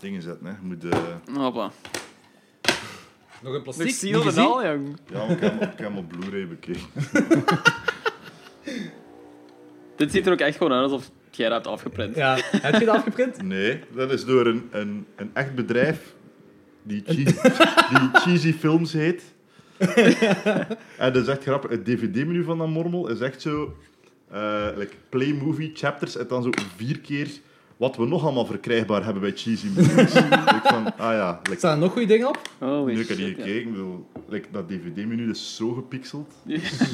dingen zetten. Hè. Je moet, eh, Hoppa. Nog een Nog plastic. Niet ziel en gezien? al, jong. ja, maar ik heb hem op- ik heb hem op Blu-ray bekeken. Dit ziet er ook echt gewoon uit alsof jij dat hebt afgeprint. Ja. Heb je dat afgeprint? Nee, dat is door een, een, een echt bedrijf die, chee- die Cheesy Films heet. en dat is echt grappig. Het dvd-menu van dat mormel is echt zo... eh, like play movie chapters en dan zo vier keer wat we nog allemaal verkrijgbaar hebben bij Cheesy Movies. ik van, ah ja, like, Staan er nog goede dingen op? Holy nu ik er hier shit, ja. gekeken, ik bedoel, like, dat dvd-menu is zo gepixeld.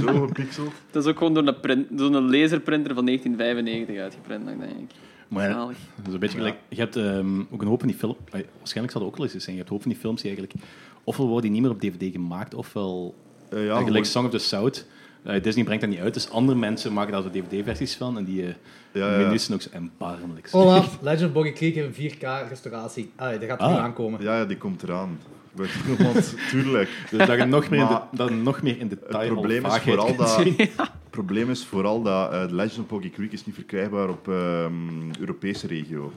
Zo gepixeld. Dat is ook gewoon door een, print, door een laserprinter van 1995 uitgeprint, dat denk ik. Maar ja, Zalig. dat is een beetje gelijk. Je hebt ehm, ook een hoop van die films. Waarschijnlijk zal het ook wel eens zijn. Je hebt een hoop van die films die eigenlijk. Ofwel worden die niet meer op DVD gemaakt, ofwel. Eh, Ja, ja, gelijk gewoon- Song of the South. Eh, Disney brengt dat niet uit, dus andere mensen maken daar zo DVD-versies van. En die eh Ja, ja. menus zijn ook zo erbarmelijk. Olaf, Legend of Boggy Creek in 4K restauratie. Ah, dat gaat er Ah. niet aankomen. ja, ja, die komt eraan. Want tuurlijk. Dus dat je nog meer, Maar- in de, dat je nog meer in detail Het al probleem is vaagheid vooral kunt dat, zien. het probleem is vooral dat eh, The Legend of Pocky Creek is niet verkrijgbaar op ehm, Europese regio.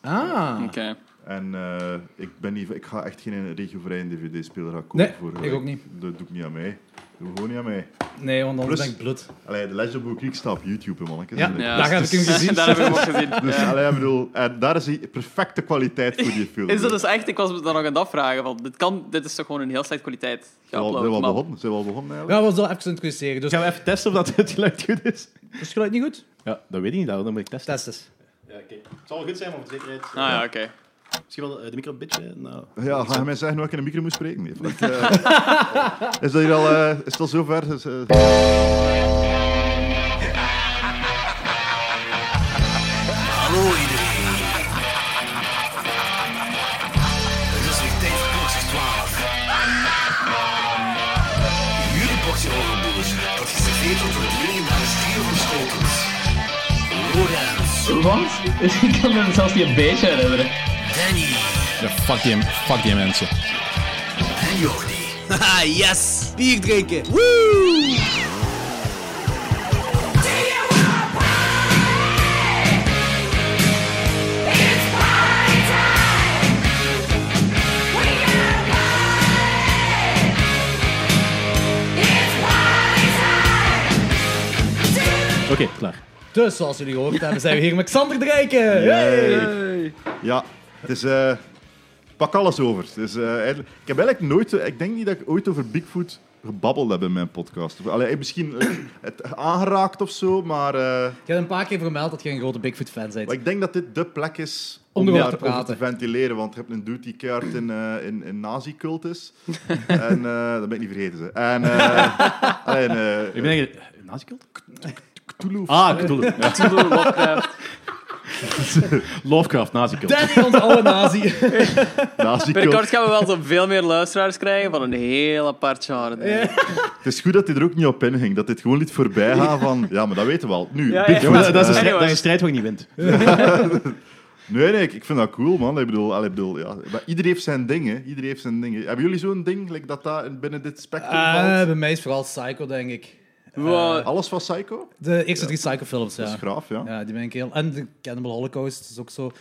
Ah. Oké. En eh, ik, ben niet, ik ga echt geen regiovrije dvd-speler gaan kopen. Nee, voor, ik eh, ook niet. Dat doe ik niet aan mij. Doe gewoon niet aan mij. Nee, want anders Plus- ben ik bloed. Allee, The Legend of Pocky Creek staat op YouTube, hè, mannetjes. Ja. Allee. Ja. Daar heb ik hem gezien. Daar heb ik hem ook gezien. Dus Ja. allee, ik bedoel, en daar is die perfecte kwaliteit voor die film. Is dat dus echt? Ik was me daar nog aan het afvragen. Van, dit, kan, dit is toch gewoon een heel slechte kwaliteit Zijn we al- geüpload, zijn we al maar- begonnen? Zijn we al begonnen eigenlijk? Ja, we zullen even introduceren. Dus Gaan we even testen of dat het geluid goed is? is het geluid niet goed? Ja, dat weet ik niet, daarom moet ik testen. Test eens. Ja, oké. Het zal wel goed zijn, maar voor de zekerheid... Ah ja, oké. Misschien wel eh, de micro een beetje... Nou, Ja, ga je mij zeggen hoe ik in de micro moet spreken? Nee, fuck, eh. is dat hier al, eh, is het al zover? Is, eh, Hallo iedereen. Het is weer tijd voor Boxers 12. Jullie Boxer Hogenboers, dat geserveerd wordt door de legendarische trio van Schotens. Lorenz, Wat? Ik kan me zelfs niet een beetje herinneren. Danny fuck, die, fuck die mensen. en Jordi. Haha, yes! Bier drinken! Oké, klaar. Dus, zoals jullie gehoord hebben, zijn we hier met Xander Drijken. Ja, het is... eh, pak alles over. Het is, eh, eigenlijk- ik heb eigenlijk nooit... eh, Ik denk niet dat ik ooit over Bigfoot gebabbeld heb in mijn podcast. Of, Allee, misschien eh, het aangeraakt of zo, maar... eh, Je hebt een paar keer vermeld dat je een grote Bigfoot-fan bent. maar ik denk dat dit de plek is Om erover te daarover praten. te ventileren. Want je hebt een dude die keihard in, eh, in, in nazi-cult is. en eh, dat ben ik niet vergeten. Ze. En... eh en eh, Ik ben eigenlijk... Nazi-cult? Cthulhu. Ah, Cthulhu. Ja. Cthulhu Lovecraft. Lovecraft, Nazi-cult. Danny, onze oude nazi. Binnenkort Nazi-cult. gaan we wel zo veel meer luisteraars krijgen van een heel apart genre. denk ik. Het is goed dat hij er ook niet op inging. Dat dit gewoon liet voorbij gaan van... Ja, maar dat weten we al. Nu, Ja, ja. Bigfoot. Ja, maar dat, dat is een Eh, strijd, dat is anyway. een strijd waar je niet wint. Nee, nee, ik, ik vind dat cool, man. Ik bedoel, allee, ik bedoel ja, maar iedereen heeft zijn dingen. Iedereen heeft zijn dingen. Hebben jullie zo'n ding, like dat dat in- binnen dit spectrum Eh, valt? bij mij is vooral Psycho, denk ik. Wow. Alles van Psycho? De eerste drie Psycho-films, Dat is ja. graaf, ja. Ja, die ben ik heel... En de Cannibal Holocaust is ook zo...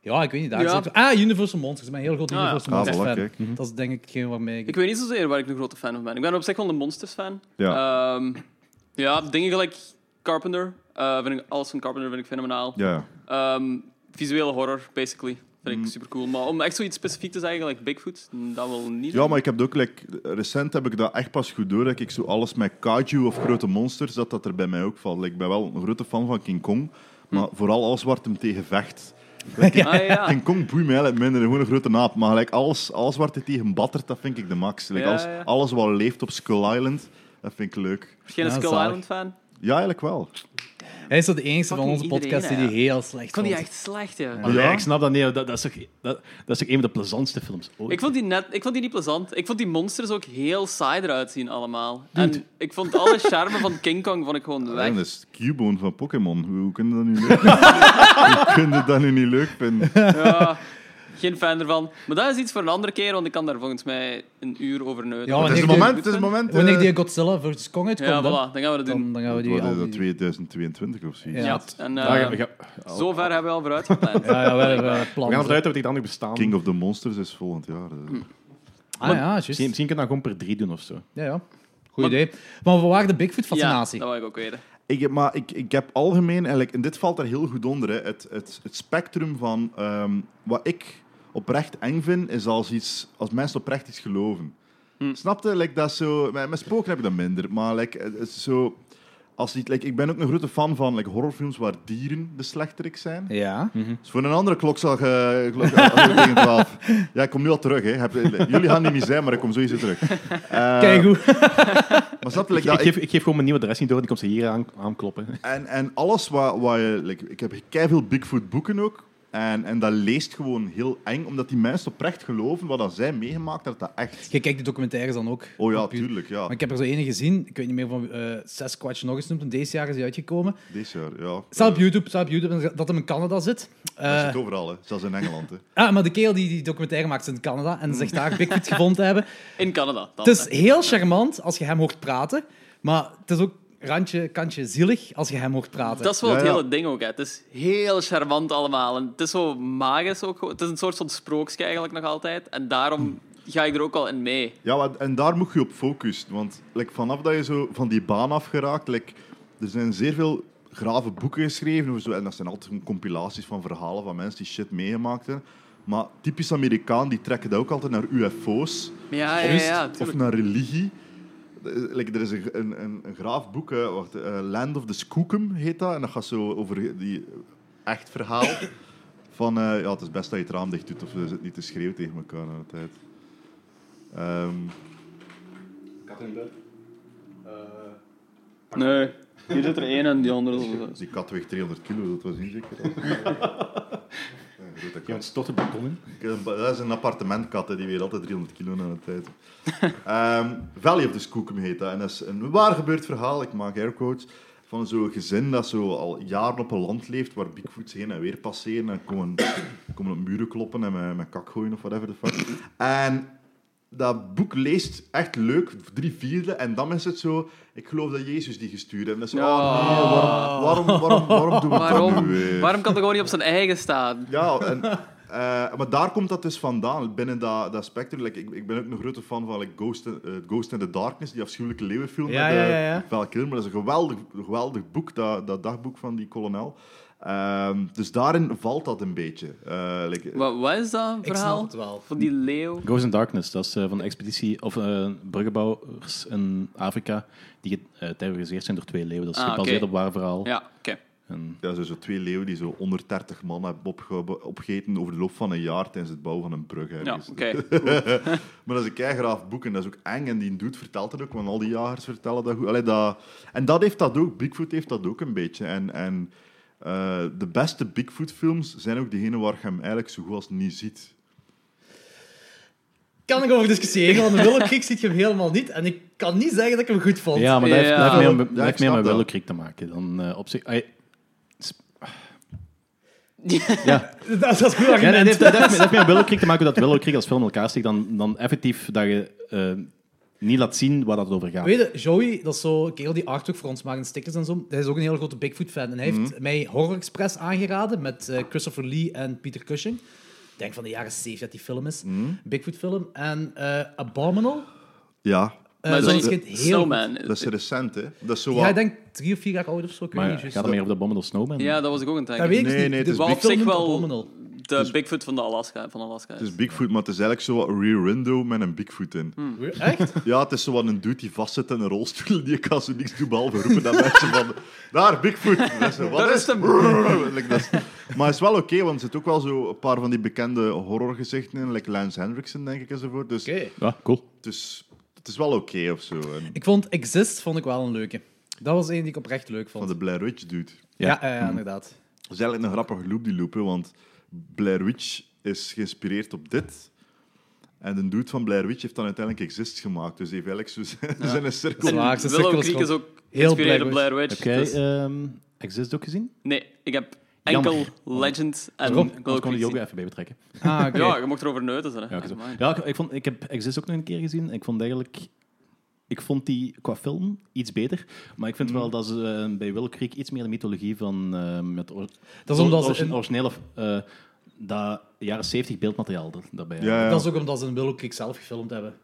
Ja, ik weet niet. Daar Ja. is ook- Ah, Universal Monsters. Ik ben een heel groot Ah, ja. Universal Ah, Monsters voilà, fan. kijk. Dat is denk ik geen waarmee ik... Ik weet niet zozeer waar ik een grote fan van ben. Ik ben op zich wel een Monsters-fan. Ja. Ehm, ja, dingen gelijk Carpenter. eh, vind ik, alles van Carpenter vind ik fenomenaal. Ja, ja. Ehm, visuele horror, basically. Vind Mm. ik super cool. Maar om echt zoiets specifiek te zeggen, like Bigfoot, dat wil niet. ja, maar ik heb dat ook, like, recent heb ik dat echt pas goed door, dat ik zo alles met kaiju of grote monsters, dat dat er bij mij ook valt. Like, ik ben wel een grote fan van King Kong, maar vooral alles waar het hem tegen vecht. Like, Ah, ja. King Kong boeit mij eigenlijk minder, gewoon een grote naap. Maar gelijk alles, alles waar hij tegen battert, dat vind ik de max. Like, Ja, alles, ja. alles wat leeft op Skull Island, dat vind ik leuk. Misschien een Ja, Skull zalig. Island fan. Ja, eigenlijk wel. Hij is zo de enige van Fucking onze iedereen, podcast die hè, die heel slecht Ik vond die vond. echt slecht, ja. Maar Ja. Ik snap dat niet. Dat, dat, is toch, dat, dat is toch een van de plezantste films ooit. Ik vond, die net, ik vond die niet plezant. Ik vond die monsters ook heel saai eruit zien allemaal. En ik vond alle charme van King Kong vond ik gewoon Ja, weg. dat is Cubone van Pokémon. Hoe, hoe kun je dat nu leuk vinden? Hoe kun je dat nu niet leuk vinden? Ja. Geen fan ervan. Maar dat is iets voor een andere keer, want ik kan daar volgens mij een uur over neuzen. Ja, maar Het is een ik doe- moment, het is een moment. Wanneer eh, die Godzilla vs. Kong uitkomt, ja, dan, voilà, dan gaan we dat doen. dan, dan gaan we die... wat is al dat, die- 2022 of zoiets. Ja. Ja, en eh, Ja, ja, ja. zover hebben we al vooruit gepland. Ja, ja, we hebben eh, We gaan plannen. ervan uit dat we dit andere bestaan. King of the Monsters is volgend jaar. eh. Ah ja, juist. Misschien, misschien kunnen we dat gewoon per drie doen of zo. Ja, ja. Goed idee. Maar waar de Bigfoot-fascinatie? Ja, dat wil ik ook weten. Ik, heb- maar ik, ik heb algemeen, eigenlijk, en dit valt er heel goed onder, hè, het, het, het spectrum van ehm, wat ik oprecht eng vind, is als, iets, als mensen oprecht iets geloven. Hm. Snapte? Like, dat is zo, met, met spoken heb ik dat minder, maar like, het is zo, als iets, like, ik ben ook een grote fan van like, horrorfilms waar dieren de slechterik zijn. ja. Dus voor een andere klokslag, eh klok, aflevering 12. Ja, ik kom nu al terug. Hè. Heb- Jullie gaan niet meer zijn, maar ik kom sowieso terug. Eh, Kijk hoe. Maar snapte? Ik, Like, dat ik, geef, ik geef gewoon mijn nieuwe adres niet door, die komt ze hier aan, aankloppen. En, en alles wat, wat je... like, ik heb veel Bigfoot boeken ook. En, en dat leest gewoon heel eng, omdat die mensen oprecht geloven wat dat zij meegemaakt hebben, dat dat echt... Je kijkt de documentaires dan ook. Oh ja, Op je- tuurlijk, ja. Maar ik heb er zo ene gezien, ik weet niet meer van eh Sasquatch nog eens noemt, want deze jaar is die uitgekomen. Dit jaar, ja. Staat op YouTube, staat op YouTube dat hem in Canada zit. Dat Eh, zit overal, hè. zelfs in Engeland. Hè. ah, maar de kerel die die documentaire maakt zit in Canada en zegt daar Bigfoot gevonden te hebben. In Canada. Dan, Het is hè. heel charmant als je hem hoort praten, maar het is ook randje, kantje zielig als je hem hoort praten. Dat is wel Ja, het ja. hele ding ook. Hè. Het is heel charmant allemaal. En het is zo magisch ook. gewoon. Het is een soort van sprookje eigenlijk nog altijd. En daarom ga ik er ook al in mee. Ja, maar- en daar moet je op focussen. Want like, vanaf dat je zo van die baan afgeraakt... Like, er zijn zeer veel grave boeken geschreven. of Zo, en dat zijn altijd gewoon compilaties van verhalen van mensen die shit meegemaakt hebben. Maar typisch Amerikaan, die trekken dat ook altijd naar UFO's. Maar ja, ja, ja, Of- ja, of tuurlijk. naar religie. Eh, like, er is een, een, een, een graaf boek, eh, wacht, eh, Land of the Skookum heet dat. En dat gaat zo over die echt verhaal. van, eh, ja, het is best dat je het raam dicht doet of je zit niet te schreeuwen tegen elkaar de hele tijd. Ehm, Nee, hier zit er één en die andere. dus die kat weegt 300 kilo, dat was niet zeker. Ja, een grote Ja, kat. het stort op beton in. eh, Dat is een appartementkat, hè, die weegt altijd 300 kilo aan de tijd. Ehm, Valley of the Skookum heet dat. En dat is een waar gebeurd verhaal, ik maak airquotes, van zo'n gezin dat zo al jaren op een land leeft, waar Bigfoots heen en weer passeren en komen, komen op muren kloppen en met, met kak gooien of whatever the fuck. En dat boek leest echt leuk, drie vierde, en dan is het zo, ik geloof dat Jezus die gestuurd heeft. En dat is zo, oh nee, waarom, waarom, waarom, waarom doen we dat nu Waarom? weer? Waarom kan het gewoon niet op zijn eigen staan? Ja, en, eh, maar daar komt dat dus vandaan, binnen dat, dat spectrum. Like, ik, ik ben ook een grote fan van like, Ghost, in, eh, Ghost in the Darkness, die afschuwelijke leeuwenfilm Ja, met ja, eh, ja, ja. Val Kilmer. Dat is een geweldig, geweldig boek, dat, dat dagboek van die kolonel. Ehm, dus daarin valt dat een beetje. Eh, like, Wat, wat is dat verhaal? het wel. Van die leeuw? Goes in Darkness, dat is eh, van de expeditie of eh burgerbouwers in Afrika die geterroriseerd zijn door twee leeuwen. Dat is Ah, gebaseerd oké. op waar verhaal. Ja, oké. En, ja, zo, zo twee leeuwen die zo 130 man hebben opge- opgegeten over de loop van een jaar tijdens het bouwen van een brug. Ja, ergens. oké. Maar dat is een keigraaf boek en dat is ook eng. En die doet vertelt het ook, want al die jagers vertellen dat goed. Allee, dat... En dat heeft dat ook, Bigfoot heeft dat ook een beetje. En, en eh, de beste Bigfoot-films zijn ook degene waar je hem eigenlijk zo goed als niet ziet. kan ik over discussiëren, want in Willow Creek ziet je hem helemaal niet en ik kan niet zeggen dat ik hem goed vond. ja, maar dat heeft, dat Ja. heeft meer, met- Ja, dat ik heeft meer snap met dat. Willow Creek te maken. Dan, eh, op zich, ai, Dat, dat is goed argument. Ja, nee, dat heeft, dat heeft- dat heeft meer met Willow Creek te maken dat Willow Creek als film in elkaar steekt dan, dan effectief dat je eh, niet laat zien waar dat over gaat. Weet je, Joey, dat is zo'n kerel die artwork voor ons maakt en stickers en zo. Hij is ook een hele grote Bigfoot-fan. En hij Mhm. heeft mij Horror Express aangeraden met eh, Christopher Lee en Peter Cushing. Ik denk van de jaren 70 dat die film is. Mhm. Bigfoot-film. En eh, Abominal. Ja, Eh, Maar dat is is dat geen niet- heel Snowman. dat is recent, hè? Dat is zo wat- Ja, ik denk drie of vier jaar oud of zo. Ik weet maar niet gaat juist. het meer over de Abominable Snowman? Ja, dat was ik ook een Dat tijdje. weet ik dus Nee, niet. nee, het De is Wat op film zich noemt wel Abominal. de Bigfoot van, de Alaska, van Alaska is. Het is Bigfoot, maar het is eigenlijk zo wat een Rear Window met een Bigfoot in. Echt? Ja, het is zo wat een dude die vastzit in een rolstoel die kan zo niks doen behalve roepen dat mensen van... Daar, Bigfoot! Dat is zo, wat Daar is is hem. Like, dat is- dus. maar het is wel oké, want er zitten ook wel zo een paar van die bekende horrorgezichten in, like Lance Henriksen, denk ik, enzovoort. Dus Oké. Ja, Ah, cool. het, is, het is wel oké of zo. En Ik vond Exist vond ik wel een leuke. Dat was één die ik oprecht leuk vond. van de Blair Witch dude. Ja, ja, ja, inderdaad. Dat is eigenlijk een grappige loop die lopen, want Blair Witch is geïnspireerd op dit. En de dude van Blair Witch heeft dan uiteindelijk Exist gemaakt. Dus die heeft eigenlijk zo zijn, zijn cirkel. Waar, En zijn Willow cirkel is Creek is rond. ook Heel geïnspireerd op Blair Blair Witch. Heb jij dus- ehm, Exist ook gezien? Nee, ik heb enkel Jammer. Legend en Kom, Low ik kon die ook Creasy. even bij betrekken. Mhm. Ah, oké. Ja, je mocht erover neuten. Hè. Ja, ik, zo. Dus Amai. ja, ik, ik vond, ik heb Exist ook nog een keer gezien. en Ik vond eigenlijk... Ik vond die qua film iets beter. Maar ik vind wel dat ze eh, bij Willow Creek iets meer de mythologie van... eh, met or- Dat is omdat or- ze in- originele... eh, dat jaren 70 beeldmateriaal er- daarbij. Ja, ja. Dat is ook omdat ze een Willow Creek zelf gefilmd hebben.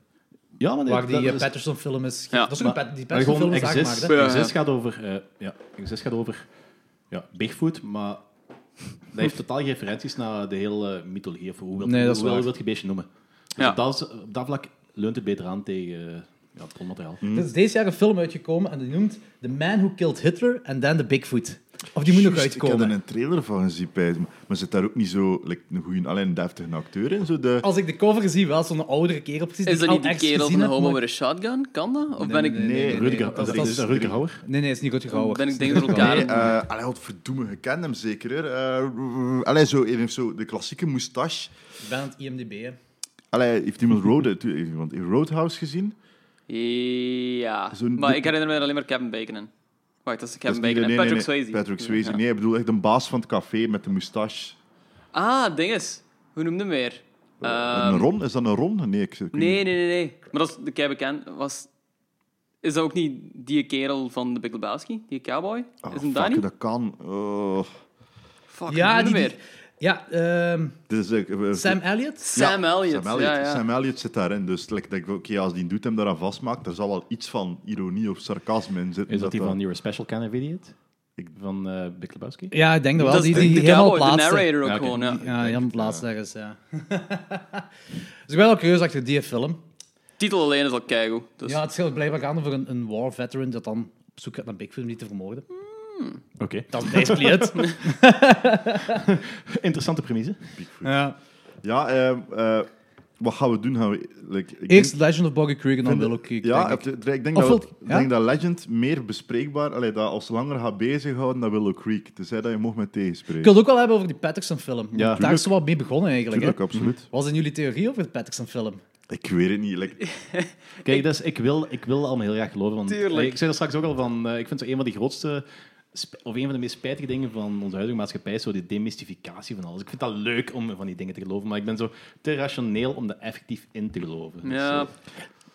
ja maar nee, Waar die dat eh, is- Patterson-film is... ge- Ja, dat is ook maar- een Pat- die maar gewoon Patterson-film is aangemaakt, Exist, hè? hè? Ja, Exist ja. gaat over... eh, ja, Exist gaat over ja, Bigfoot, maar... Dat heeft totaal geen referenties naar de hele eh, mythologie. Of hoe wil Nee, dat is hoe wil waar. je het beestje noemen. Dus Ja. op, dat, is- op dat vlak leunt het beter aan tegen eh, ja, het bronmateriaal. Er is deze jaar een film uitgekomen en die noemt The Man Who Killed Hitler and Then the Bigfoot. Of die moet nog Juist, Ik uitkomen. had er een trailer van gezien, bij, maar zit daar ook niet zo like, een goede, alleen een deftige acteur in? Zo de, Als ik de cover zie, wel zo'n oudere kerel. Precies, Is die dat ik al niet die ergens kerel gezien van een heb, homo maar- met een shotgun? Kan dat? Of ben ik... Nee, nee, nee, Rutger, dat- dat dat is is- Rutger Hauer. Nee, nee, is niet Rutger Hauer. Ben ik Is denk niet door Rutger Hauer. Nee, eh allee, godverdomme, je kent hem zeker. Hè? Eh, allee, zo, hij heeft zo de klassieke moustache. Ik ben aan het IMDb. hè. Allee, heeft iemand, Road, heeft iemand Roadhouse gezien? Ja, Zo'n- maar ik herinner me er alleen maar Kevin Bacon in. Wacht, dat is Kevin Dat is Bacon niet- en nee, Patrick nee, nee, Swayze. Patrick Swayze, Ja. nee, ik bedoel echt een baas van het café met de moustache. Ah, dinges. Hoe noemde hem weer? Ehm, een Ron? Is dat een Ron? Nee, ik, ik Nee, nee, nee, nee. Maar dat is de kei bekend. Was... Is dat ook niet die kerel van de Big Lebowski? Die cowboy? Oh, is hem fuck, daar niet? dat kan. Oh, Fuck, Ja, niet die, meer. die- ja ehm, dit is, eh, eh, Sam ja, Elliott. Sam Elliott. Sam Elliott, Ja, ja. Sam Elliott zit daarin, dus like, denk ik, oké, als die doet hem daaraan vastmaakt, er zal wel iets van ironie of sarcasme in zitten. eh, Is dat die dan- van You're a Special Kind of Idiot? Ik- Van eh Big Lebowski? Ja, ik denk dat wel. Dat is Die, de, die de helemaal cowboy, de plaatste. narrator ook Ja, oké. gewoon, ja. Ja, helemaal plaatst ergens, ja. dus ik ben wel curieus achter die film. Titel alleen is al keigoed. Dus... Ja, het scheelt blijkbaar gaan over een, een war veteran dat dan op zoek gaat naar Bigfoot om die te vermoorden. Oké. Dat is basically het. Interessante premisse. ja. Ja, eh, eh, wat gaan we doen? Gaan we, like, ik Eerst denk- Legend of Boggy Creek en dan vind- Willow Creek. Ja, denk ik. ik ik denk, Of dat, wil- ik ja? denk dat Legend meer bespreekbaar, allee, dat als langer gaat bezighouden dan Willow Creek. Tenzij dat je mocht met Ik tegenspreken. wil het ook wel hebben over die Patterson-film. want daar tuurlijk. is er wat mee begonnen eigenlijk. hè. Tuurlijk, absoluut. Wat zijn jullie theorie over de Patterson-film? Ik weet het niet. like, Kijk, dus ik wil, ik wil allemaal heel graag geloven. Want, Tuurlijk. eh, ik zei dat straks ook al van. eh, ik vind zo een van de grootste. sp- Of een van de meest spijtige dingen van onze huidige maatschappij is zo de demystificatie van alles. Ik vind dat leuk om van die dingen te geloven, maar ik ben zo te rationeel om er effectief in te geloven. Dus, Ja,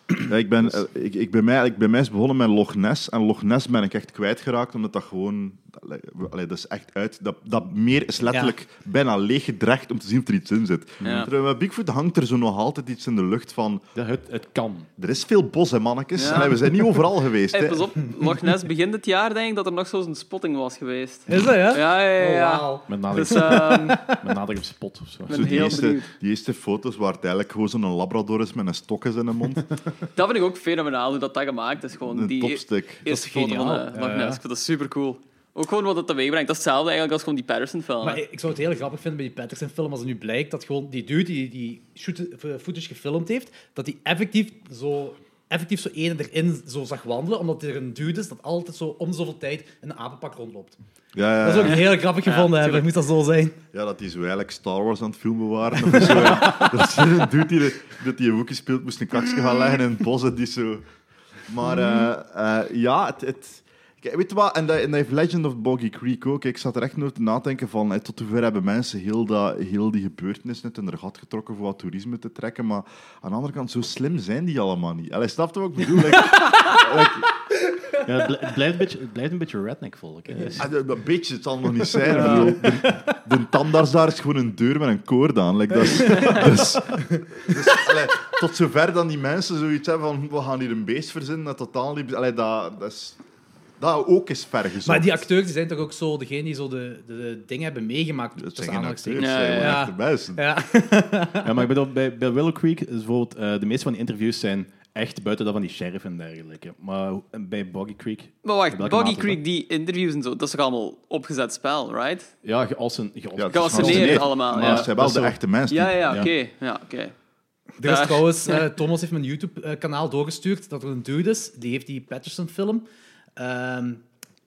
eh, Ja, ik ben, eh, ik, ik ben mij, ik ben mij is begonnen met Loch Ness. En Loch Ness ben ik echt kwijtgeraakt, omdat dat gewoon... Allee, allee, dat is echt uit... Dat, dat meer is letterlijk bijna leeggedrecht om te zien of er iets in zit. Ja. Terwijl bij Bigfoot hangt er zo nog altijd iets in de lucht van... eh, dat het, het kan. Er is veel bos, hè, mannetjes. Ja. Allee, we zijn niet overal geweest. hey, hè. pas op. Loch Ness begin dit jaar, denk ik, dat er nog zo'n spotting was geweest. Is dat, ja? Ja, ja, ja. ja. Oh, wauw. Met nadruk, Dus, ehm, met nadruk op spot of zo. met- Zo die, heel eerste, benieuwd. die eerste foto's waar het eigenlijk gewoon zo'n labrador is met een stok in zijn mond. dat vind ik ook fenomenaal, hoe dat dat gemaakt is. Gewoon Een die topstuk. eerste Dat is foto van eh, geniaal. Loch Ness. Ja, ja. Ik vind dat super cool. Ook gewoon wat dat teweeg brengt. Dat is hetzelfde eigenlijk als gewoon die Patterson-film. Maar ik ik zou het heel grappig vinden bij die Patterson-film als het nu blijkt dat gewoon die dude die die shoot- eh, footage gefilmd heeft, dat hij effectief zo, effectief zo ene erin zo zag wandelen, omdat er een dude is dat altijd zo om de zoveel tijd in een apenpak rondloopt. Ja, ja, Dat ja. zou ik heel grappig gevonden hebben, moet dat zo zijn. Ja, dat die zo eigenlijk Star Wars aan het filmen waren. Of zo, ja. Dat is een dude die, de- dat die een Wookiee speelt, moest een kaksje gaan leggen in het bos. en Die zo... Maar eh, eh, ja, het... het Kijk, weet je wat? En dat, en dat heeft Legend of Boggy Creek ook. Ik zat er echt nooit te nadenken van eh, tot hoever hebben mensen heel, dat, heel die gebeurtenis net in de gat getrokken voor wat toerisme te trekken. Maar aan de andere kant, zo slim zijn die allemaal niet. Allee, snap je wat ik bedoel? Like, Ja, het, bl- het blijft een beetje, het blijft een beetje redneck volk. hè. Dus- Ah, dat- dat beetje, het zal nog niet zijn. Ik bedoel, De, de tandarts daar is gewoon een deur met een koord aan. Like, dat is, dus, dus, allee, tot zover dan die mensen zoiets hebben van we gaan hier een beest verzinnen, dat totaal niet... Allee, dat, dat, is, dat ook is ver gezocht. Maar die acteurs die zijn toch ook zo degene die zo de, de, de dingen hebben meegemaakt? Dat tussen zijn geen acteurs, aanhalingstekens. dat Ja, zijn gewoon ja. echte mensen. Ja. Ja, maar ik bedoel, bij, bij Willow Creek is bijvoorbeeld, eh, de meeste van die interviews zijn echt buiten dat van die sheriff en dergelijke. Maar hoe- bij Boggy Creek... Maar wacht, welke Boggy maat is Creek, die interviews en zo, dat is toch allemaal opgezet spel, right? dat? Ja, gealsen... gealsen- Ja, het is Geasseneerd geasseneerd, allemaal, Maar ja. ze zijn wel Dat is de zo. echte mensen. Ja, die- ja, Ja. oké. Ja, oké. Er is Daar. trouwens, eh, Thomas heeft mijn YouTube-kanaal doorgestuurd dat er een dude is, die heeft die Patterson-film ehm,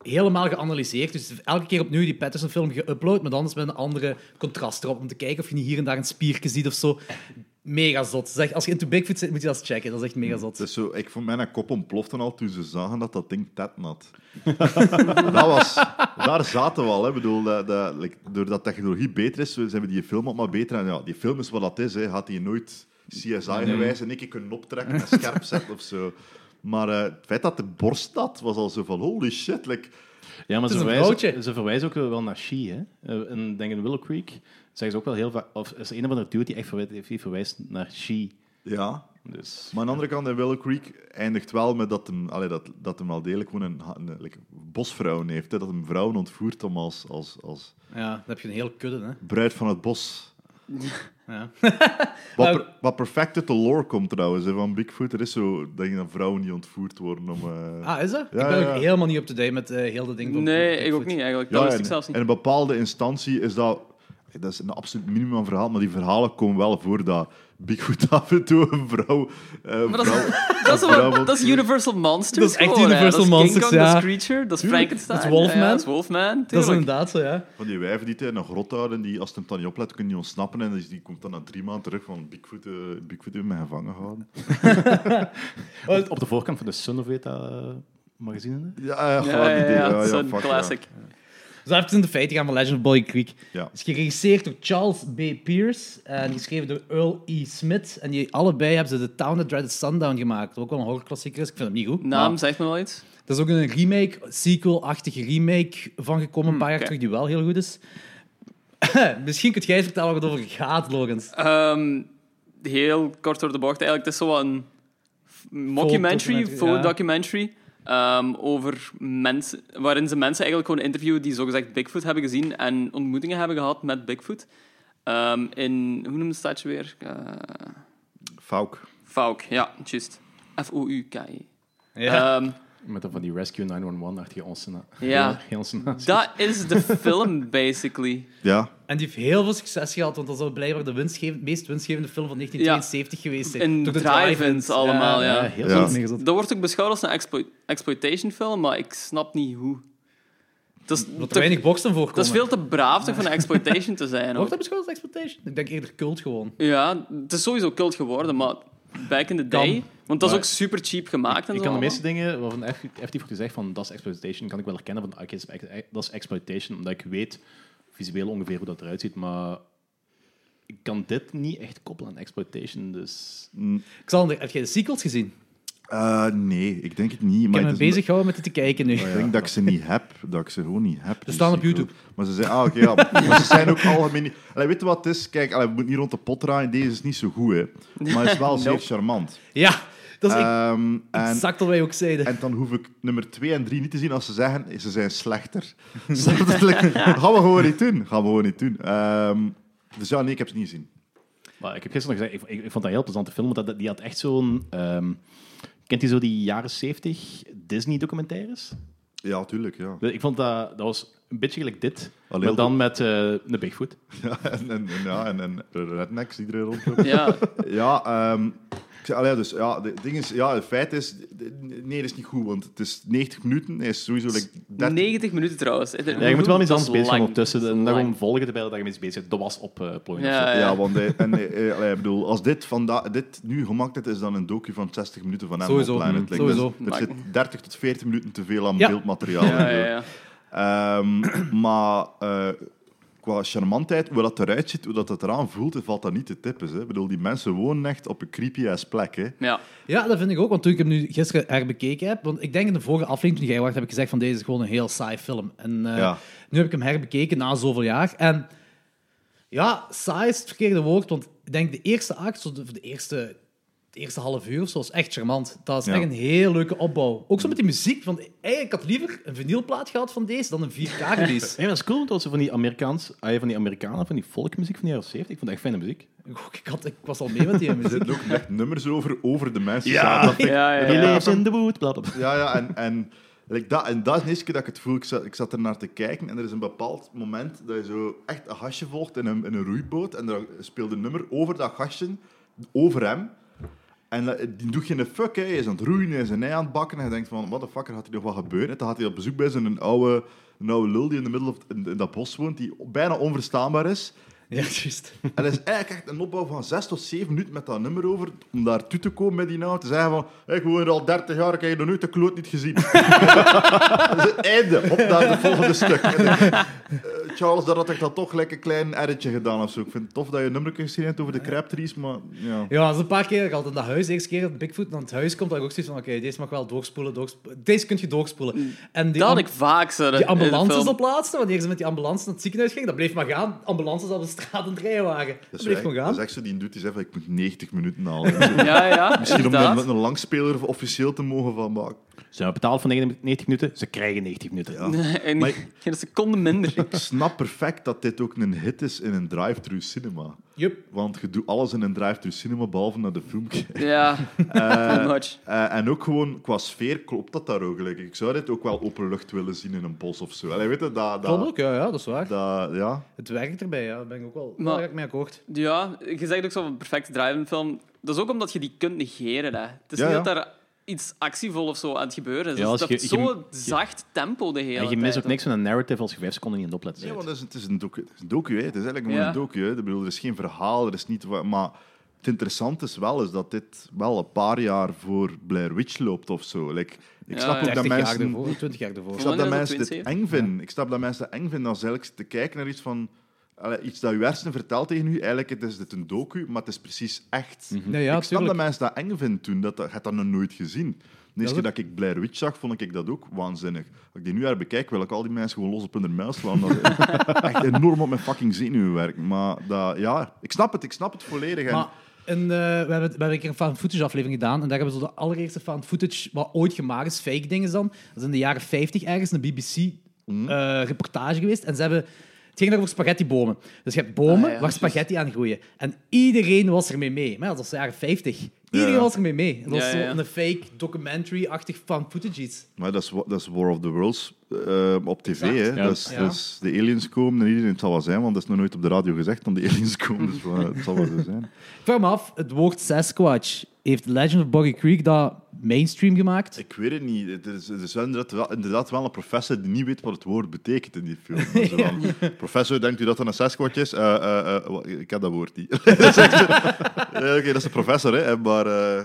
helemaal geanalyseerd. Dus elke keer opnieuw die Patterson-film geüpload, maar dan is met een andere contrast erop, om te kijken of je niet hier en daar een spiertje ziet of zo. mega zot. Zeg, als je into Bigfoot zit, moet je dat eens checken. Dat is echt mega zot. Het is zo, ik vond mijn kop ontplofte al toen ze zagen dat dat ding tet nat. dat was, daar zaten we al. Hè. Ik bedoel, dat, dat, like, doordat technologie beter is, zijn we die film ook maar beter. En ja, die film is wat dat is. Hè. Had hij nooit CSI-gewijs en ik kunnen optrekken en scherp zetten of zo. Maar eh, het feit dat de borst dat was al zo van holy shit. like, Ja, maar is ze een verwijzen, vrouwtje. ze verwijzen ook wel naar She. Hè? Eh, En denk in Willow Creek zeggen ze ook wel heel vaak... Of is er een of andere dude die echt verwijst, die verwijst naar She. ja. Dus... Maar aan de andere kant, in Willow Creek eindigt wel met dat hem, allee, dat, dat hem al degelijk gewoon een, ha- een like, bosvrouwen heeft. Hè. Dat hem vrouwen ontvoert om als, als, als Ja. Dan heb je een heel kudde, hè. Bruid van het Bos. Ja. wat, per, wat perfect uit de lore komt trouwens, hè, van Bigfoot. Er is zo dat je dan vrouwen die ontvoerd worden om... eh, Ah, is dat? Ja, ik ben ja, ja. ook helemaal niet up-to-date met eh, heel dat ding van Nee, Bigfoot. ik ook niet eigenlijk. Dat wist ik en, zelfs en niet. een bepaalde instantie is dat... Dat is een absoluut minimum aan verhaal, maar die verhalen komen wel voor dat Bigfoot af en toe een vrouw... eh, een Maar dat is- vrouw- Dat is, een wel- vrouw van- dat is Universal Monsters. Dat is echt gewoon, hè. Universal dat is King Monsters, Kong, ja. Dat is Creature, dat is Tuurlijk. Frankenstein. Dat is Wolfman. Ja, ja, dat is Wolfman, Dat is tuurlijk. inderdaad zo, ja. Van die wijven die het in een grot houden, die als het hem dan niet oplet, kunnen die ontsnappen. En dus die komt dan na drie maanden terug van Bigfoot, eh, Bigfoot heeft mij gevangen gehouden. Op, op de voorkant van de Sun of weet dat eh, magazine. hè? Ja, eh, Ja, goh, ja, die- ja, ja, ja, dat is een fuck, ja. classic. Dus even in de feiten gaan van Legend of Boy Creek. Ja. Het is geregisseerd door Charles B. Pierce eh, en geschreven door Earl E. Smith. En die allebei hebben ze The Town That Dreaded Sundown gemaakt. Wat ook wel een horrorklassieker is. Ik vind hem niet goed. Naam maar zegt me wel iets. Er is ook een remake, sequel-achtige remake van gekomen een paar jaar Hm, oké. terug, die wel heel goed is. Misschien kunt jij eens vertellen waar het over gaat, Logans. Ehm, heel kort door de bocht eigenlijk. Het is zo'n mockumentary, documentary, faux ja. documentary. ehm, over mensen, waarin ze mensen eigenlijk gewoon interviewen die zogezegd Bigfoot hebben gezien en ontmoetingen hebben gehad met Bigfoot. Ehm, in, hoe noemt het stadje weer? Eh, Fauk. Fauk, ja, juist. F-O-U-K-E. Ja. E. Ehm, Met dat van die Rescue 911-achtige onsena. Ja. Onsena's. dat is de film, basically. Ja, En die heeft heel veel succes gehad, want dat zou blijkbaar de winstgevend, meest winstgevende film van 1972 geweest zijn. In Door de drive-ins allemaal, ja. Ja, heel Ja. goed. Mega zot. Dat wordt ook beschouwd als een explo- exploitation film, maar ik snap niet hoe. Dat is, Dat er toch- weinig boksen voorkomen. dat is veel te braaf toch van een exploitation te zijn. Wordt Ook. dat beschouwd als exploitation? Ik denk eerder cult gewoon. Ja, het is sowieso cult geworden, maar back in the day. Kan. Want dat is Maar- ook super cheap gemaakt. En zo Ik kan de allemaal. meeste dingen waarvan effectief effectief wordt gezegd van dat is exploitation, kan ik wel herkennen van oké, dat is ex- dat is exploitation, omdat ik weet visueel ongeveer hoe dat eruit ziet, maar ik kan dit niet echt koppelen aan exploitation, dus... Xander, heb jij de sequels gezien? Eh, nee, ik denk het niet. Ik maar heb het me is- Oh, bezig gehouden met dit te kijken nu. Ik denk dat ik ze niet heb. Dat ik ze gewoon niet heb. Ze staan op YouTube. Maar ze zijn, ah, oké, ja. maar ze zijn ook algemeen niet... Allee, weet je wat het is? Kijk, allee, we moeten niet rond de pot draaien. Deze is niet zo goed, hè. Maar het is wel zeer charmant. Ja, dat is Ehm, en, exact wat wij ook zeiden. en dan hoef ik nummer 2 en 3 niet te zien als ze zeggen, ze zijn slechter. Snap je? Like, Gaan we gewoon niet doen. Gaan we gewoon niet doen. Ehm, dus ja, nee, ik heb ze niet gezien. Maar ik heb gisteren nog gezegd, ik, ik, ik vond dat een heel plezante film, want dat- dat, die had echt zo'n... ehm, kent u zo die jaren 70 Disney-documentaires? Ja, tuurlijk, ja. Dus Ik vond dat, dat was een beetje gelijk dit, Allee, maar dan met eh de Bigfoot. ja en, en, en- ja, en, en rednecks die er rondlopen. Ja, Ja, ehm, ik zei- allee, dus, ja, de- het ding is, ja, het feit is, d- d- nee, dat is niet goed, want het is 90 minuten, hij is sowieso like 30 90 minuten trouwens. Ja, je moet wel met iets Dat is anders bezig zijn lang. ondertussen, Dat en is daarom lang. volgen terwijl dat je mee bezig bent. Dat was op eh plooien of zo. Ja, Ja, ja. want hij- en, eh, eh, allee, ik bedoel, als dit, vanda- dit nu gemaakt is, is dan een docu van 60 minuten van Animal Sowieso, Planet. mm, Like, dus sowieso. Er zit 30 tot 40 minuten te veel aan Ja. beeldmateriaal. Ja, in, ja, zo. ja. Ehm, maar eh, qua charmantheid, hoe dat eruit ziet, hoe dat het eraan voelt, valt dat niet te tippen. Hè. Ik bedoel, die mensen wonen echt op een creepy-ass plek. Hè. Ja. Ja, dat vind ik ook, want toen ik hem nu gisteren herbekeken heb... Want ik denk in de vorige aflevering, toen jij wacht, heb ik gezegd van deze is gewoon een heel saai film. En eh, Ja. nu heb ik hem herbekeken na zoveel jaar. En ja, saai is het verkeerde woord, want ik denk de eerste act, zo de, of de eerste... Het eerste half uur of zo is echt charmant. Dat is Ja. echt een heel leuke opbouw. Ook zo met die muziek. Want eigenlijk had ik liever een vinylplaat gehad van deze dan een 4K-release. Ja, dat is cool, dat ze van die Amerikaans, ah, van die Amerikanen, van die folkmuziek van de jaren 70. Ik vond dat echt fijne muziek. ik, had, ik was al mee met die Er muziek. zitten ook echt nummers over, over de mensen. Ja. zelf. Dat vind ik- Ja, ja, He ja. lives in the wood, bla bla bla. Ja, ja, en, en, like dat, en dat is de eerste keer dat ik het voel. Ik zat, ik zat er naar te kijken en er is een bepaald moment dat je zo echt een gastje volgt in een, in een roeiboot. En daar speelde een nummer over dat gastje, over hem. En dat- die doet geen fuck, hè. hij is aan het roeien, hij is een ei aan het bakken. En je denkt van, what the fuck, er gaat hier nog wat gebeuren? En dan gaat hij op bezoek bij zijn een oude, een oude lul die in, de middel, in, in dat bos woont, die bijna onverstaanbaar is. Ja, juist. En dat is eigenlijk echt een opbouw van zes tot zeven minuten met dat nummer over, om daartoe te komen met die naam, te zeggen van, hey, ik woon hier al 30 jaar, ik heb je nog nooit de kloot niet gezien. dat is het einde, op naar het volgende stuk. En ik, eh, Charles, daar had ik dat toch lekker een klein editje gedaan of zo. Ik vind het tof dat je een nummer gezien hebt over de crabtrees, maar ja. Ja, dat is een paar keer. Ik had in dat huis, de eerste keer dat Bigfoot naar het huis komt, dat ik ook zoiets van, oké, deze mag wel doorspoelen, doorspoelen. Deze kun je doorspoelen. En Dat die had am- Mm. ik vaak zo. die ambulances op laatste, wanneer ze met die ambulance naar het ziekenhuis gingen, dat bleef maar gaan. Ambulances op de straat aan het rijden waren. Dat, Dat is, bleef echt, gewoon dat gaan. is echt zo die doet, die zegt van, ik moet 90 minuten halen. Ja, ja. Misschien om daar inderdaad. met een langspeler officieel te mogen van maken. Ze hebben betaald voor 90 minuten, ze krijgen 90 minuten. Ja. En Maar- geen seconde minder. Ik snap perfect dat dit ook een hit is in een drive-thru cinema. Jup. Want je doet alles in een drive-thru cinema, behalve naar de film kijken. Ja, too much. Eh, en ook gewoon qua sfeer klopt dat daar ook. Like, ik zou dit ook wel openlucht willen zien in een bos of zo. Allee, weet je, dat, dat, Klopt ook, ja, ja, dat is waar. dat- ja. Het werkt erbij, ja. Daar ben ik ook wel Maar- maar... mee akkoord. Ja, je zegt ook zo een perfecte drive-in film. Dat is ook omdat je die kunt negeren. Hè. Het is Ja, niet ja. dat daar iets actievol of zo aan het gebeuren is. Ja, Dus als dat je- is je- zo'n zacht tempo de hele En tijd. je mist ook niks van een narrative als je vijf seconden niet aan het opletten Nee, bent. want het is, het is een docu. Het is een docu, hè. Het is eigenlijk gewoon Ja. een docu. Hè. Ik bedoel, er is geen verhaal, er is niet... wa- Maar het interessante is wel is dat dit wel een paar jaar voor Blair Witch loopt of zo. Like, ik Ja, snap ook dat ja. 30 jaar mensen... ervoor, 20 jaar ervoor. Ik snap dat Wanneer is mensen dit dat 72? eng vinden. Ik snap dat mensen dat eng vinden als eigenlijk te kijken naar iets van... allee, iets dat uw hersenen vertelt tegen u. Eigenlijk het is dit een docu, maar het is precies echt. Nee, ja, ik snap dat Mhm. tuurlijk. mensen dat eng vinden toen. Dat, dat, je hebt dat nog nooit gezien. De eerste keer dat ik Blair Witch zag, vond ik dat ook waanzinnig. Als ik die nu herbekijk, wil ik al die mensen gewoon los op hun muil slaan. Dat is echt enorm op mijn fucking zenuwen werkt. Maar dat, ja, ik snap het. Ik snap het volledig. En Maar en, eh, we, hebben, we hebben een keer een fan footage aflevering gedaan. En daar hebben ze de allereerste fan footage wat ooit gemaakt is. Fake dingen dan. Dat is in de jaren 50 ergens een BBC-reportage eh, geweest. En ze hebben. Het ging daar over spaghettibomen. Dus je hebt bomen Ah, ja, waar spaghetti aan groeien. En iedereen was ermee mee. Maar ja, dat was de jaren 50. Iedereen Ja. was ermee mee. Dat was Ja, zo ja, ja. een fake documentary-achtig fan footage iets. Maar dat is, wa- dat is War of the Worlds eh, op tv. Hè? Ja. Dat is, Ja. dat is de aliens komen en iedereen het zal wel zijn, want dat is nog nooit op de radio gezegd dat de aliens komen. Dus wa- het zal wel zo zijn. Ik vraag me af, het woord Sasquatch heeft Legend of Boggy Creek dat mainstream gemaakt? Ik weet het niet. Het is, het is wel inderdaad, wel, inderdaad wel een professor die niet weet wat het woord betekent in die film. Zo van, Professor, denkt u dat dat een Sasquatch is? Eh, eh, eh, wa- ik heb dat woord niet. dat is echt zo- Eh, Oké, dat is een professor, hè? maar eh,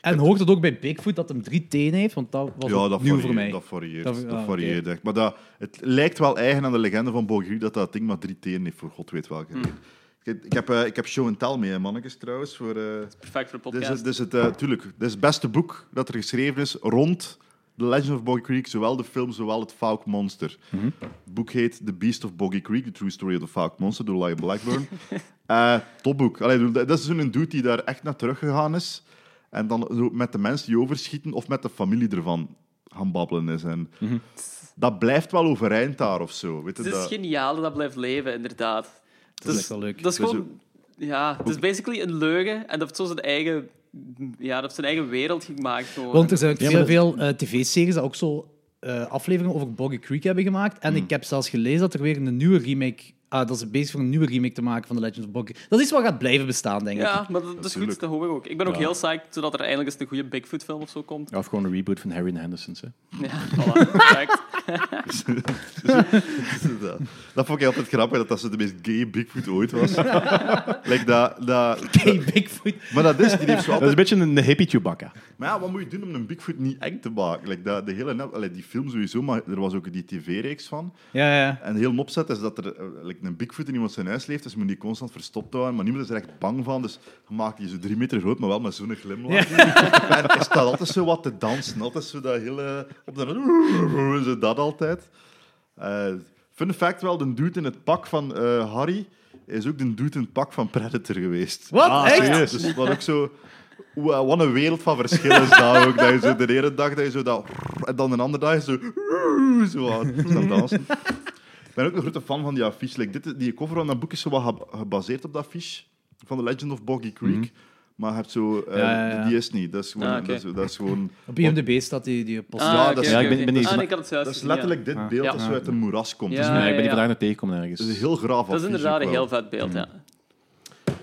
En hoort het ook bij Bigfoot dat hem drie tenen heeft? Want dat was ja, dat ook nieuw varieert, voor mij. dat varieert. Dat- Dat, ah, oké. varieert echt. Maar dat, het lijkt wel eigen aan de legende van Bogru dat dat ding maar drie tenen heeft, voor god weet welke reden. Hmm. Ik, ik, heb, eh, ik heb show en tell mee, hè, mannetjes, trouwens. Voor, eh, Perfect voor de Dus dit is, podcast. het- dit is het, eh, tuurlijk, dit is het beste boek dat er geschreven is rond The Legend of Boggy Creek, zowel de film, zowel het Falk Monster. Mhm. Het boek heet The Beast of Boggy Creek, The True Story of the Falk Monster, door Lyle Blackburn. Eh topboek. Allee, ik bedoel, dat dat is zo'n dude die daar echt naar teruggegaan is. En dan zo met de mensen die overschieten of met de familie ervan gaan babbelen is. En Dat blijft wel overeind daar of zo. Weet je, Mhm. Het is dat... geniaal dat dat blijft leven, inderdaad. Dat echt wel leuk. Dat is Dus gewoon... Ja, het is basically een leugen en dat heeft zo zijn eigen... Ja, dat heeft zijn eigen wereld gemaakt. Gewoon. Want er zijn ook Ja, heel maar veel eh, tv-series die ook zo eh, afleveringen over Boggy Creek hebben gemaakt. En ik heb zelfs gelezen dat er weer een nieuwe remake... Ah, dat ze bezig voor een nieuwe remake te maken van The Legend of Boggy. Dat is iets wat gaat blijven bestaan, denk ik. ja, maar dat, dat is goed, Natuurlijk. dat hoor ik ook. Ik ben ook Ja. heel psyched zodat er eindelijk eens een goede Bigfoot-film of zo komt. Of gewoon een reboot van Harry en Henderson's. Hè. Ja, voilà, perfect. dat. dat vond ik altijd grappig, dat dat zo de meest gay Bigfoot ooit was. like dat, dat, Hey, Bigfoot. Maar dat is, die heeft zo Dat is altijd... een beetje een hippie Chewbacca. Maar ja, wat moet je doen om een Bigfoot niet eng te maken? Like dat, de hele, nep- allee, die film sowieso, maar er was ook die tv-reeks van. Ja, ja. En heel een opzet is dat er eh, like een Bigfoot in iemand zijn huis leeft, dus moet die constant verstopt houden. Maar niemand is er echt bang van, dus je maakt die zo drie meter groot, maar wel met zo'n glimlach. En is dat altijd zo wat te dansen, altijd zo dat hele... Op de, zo dat altijd. Eh, fun fact wel, de dude in het pak van eh, Harry is ook de dude in het pak van Predator geweest. Wat? Echt? serieus? Dus dat ook zo... Wa- Wat een wereld van verschil is dat ook. Dat je zo de ene dag dat je zo dat... En dan de andere dag is zo... Zo aan zo aan het dansen. Ik ben ook een grote fan van die affiche. Like, dit, is- die cover van dat boek is zo wat geb- gebaseerd op dat affiche van The Legend of Boggy Creek. Maar je hebt zo... eh, Mhm. Ja, ja, ja. Die is niet. Dat is gewoon... Ah, oké. dat is, dat is gewoon Op IMDb staat die, die post. Ja, dat oké, is- oké, Ja, ik ben- oké. ben niet- Ah, nee, ik had het juist dat is gezien, ja. letterlijk dit beeld Ja. dat zo uit een moeras komt. Ja. Dat, is, Ja, ik ben ja. die vandaag nog tegengekomen ergens. dat is een heel graaf Dat is advies inderdaad ook een wel. Mm. heel vet beeld, ja.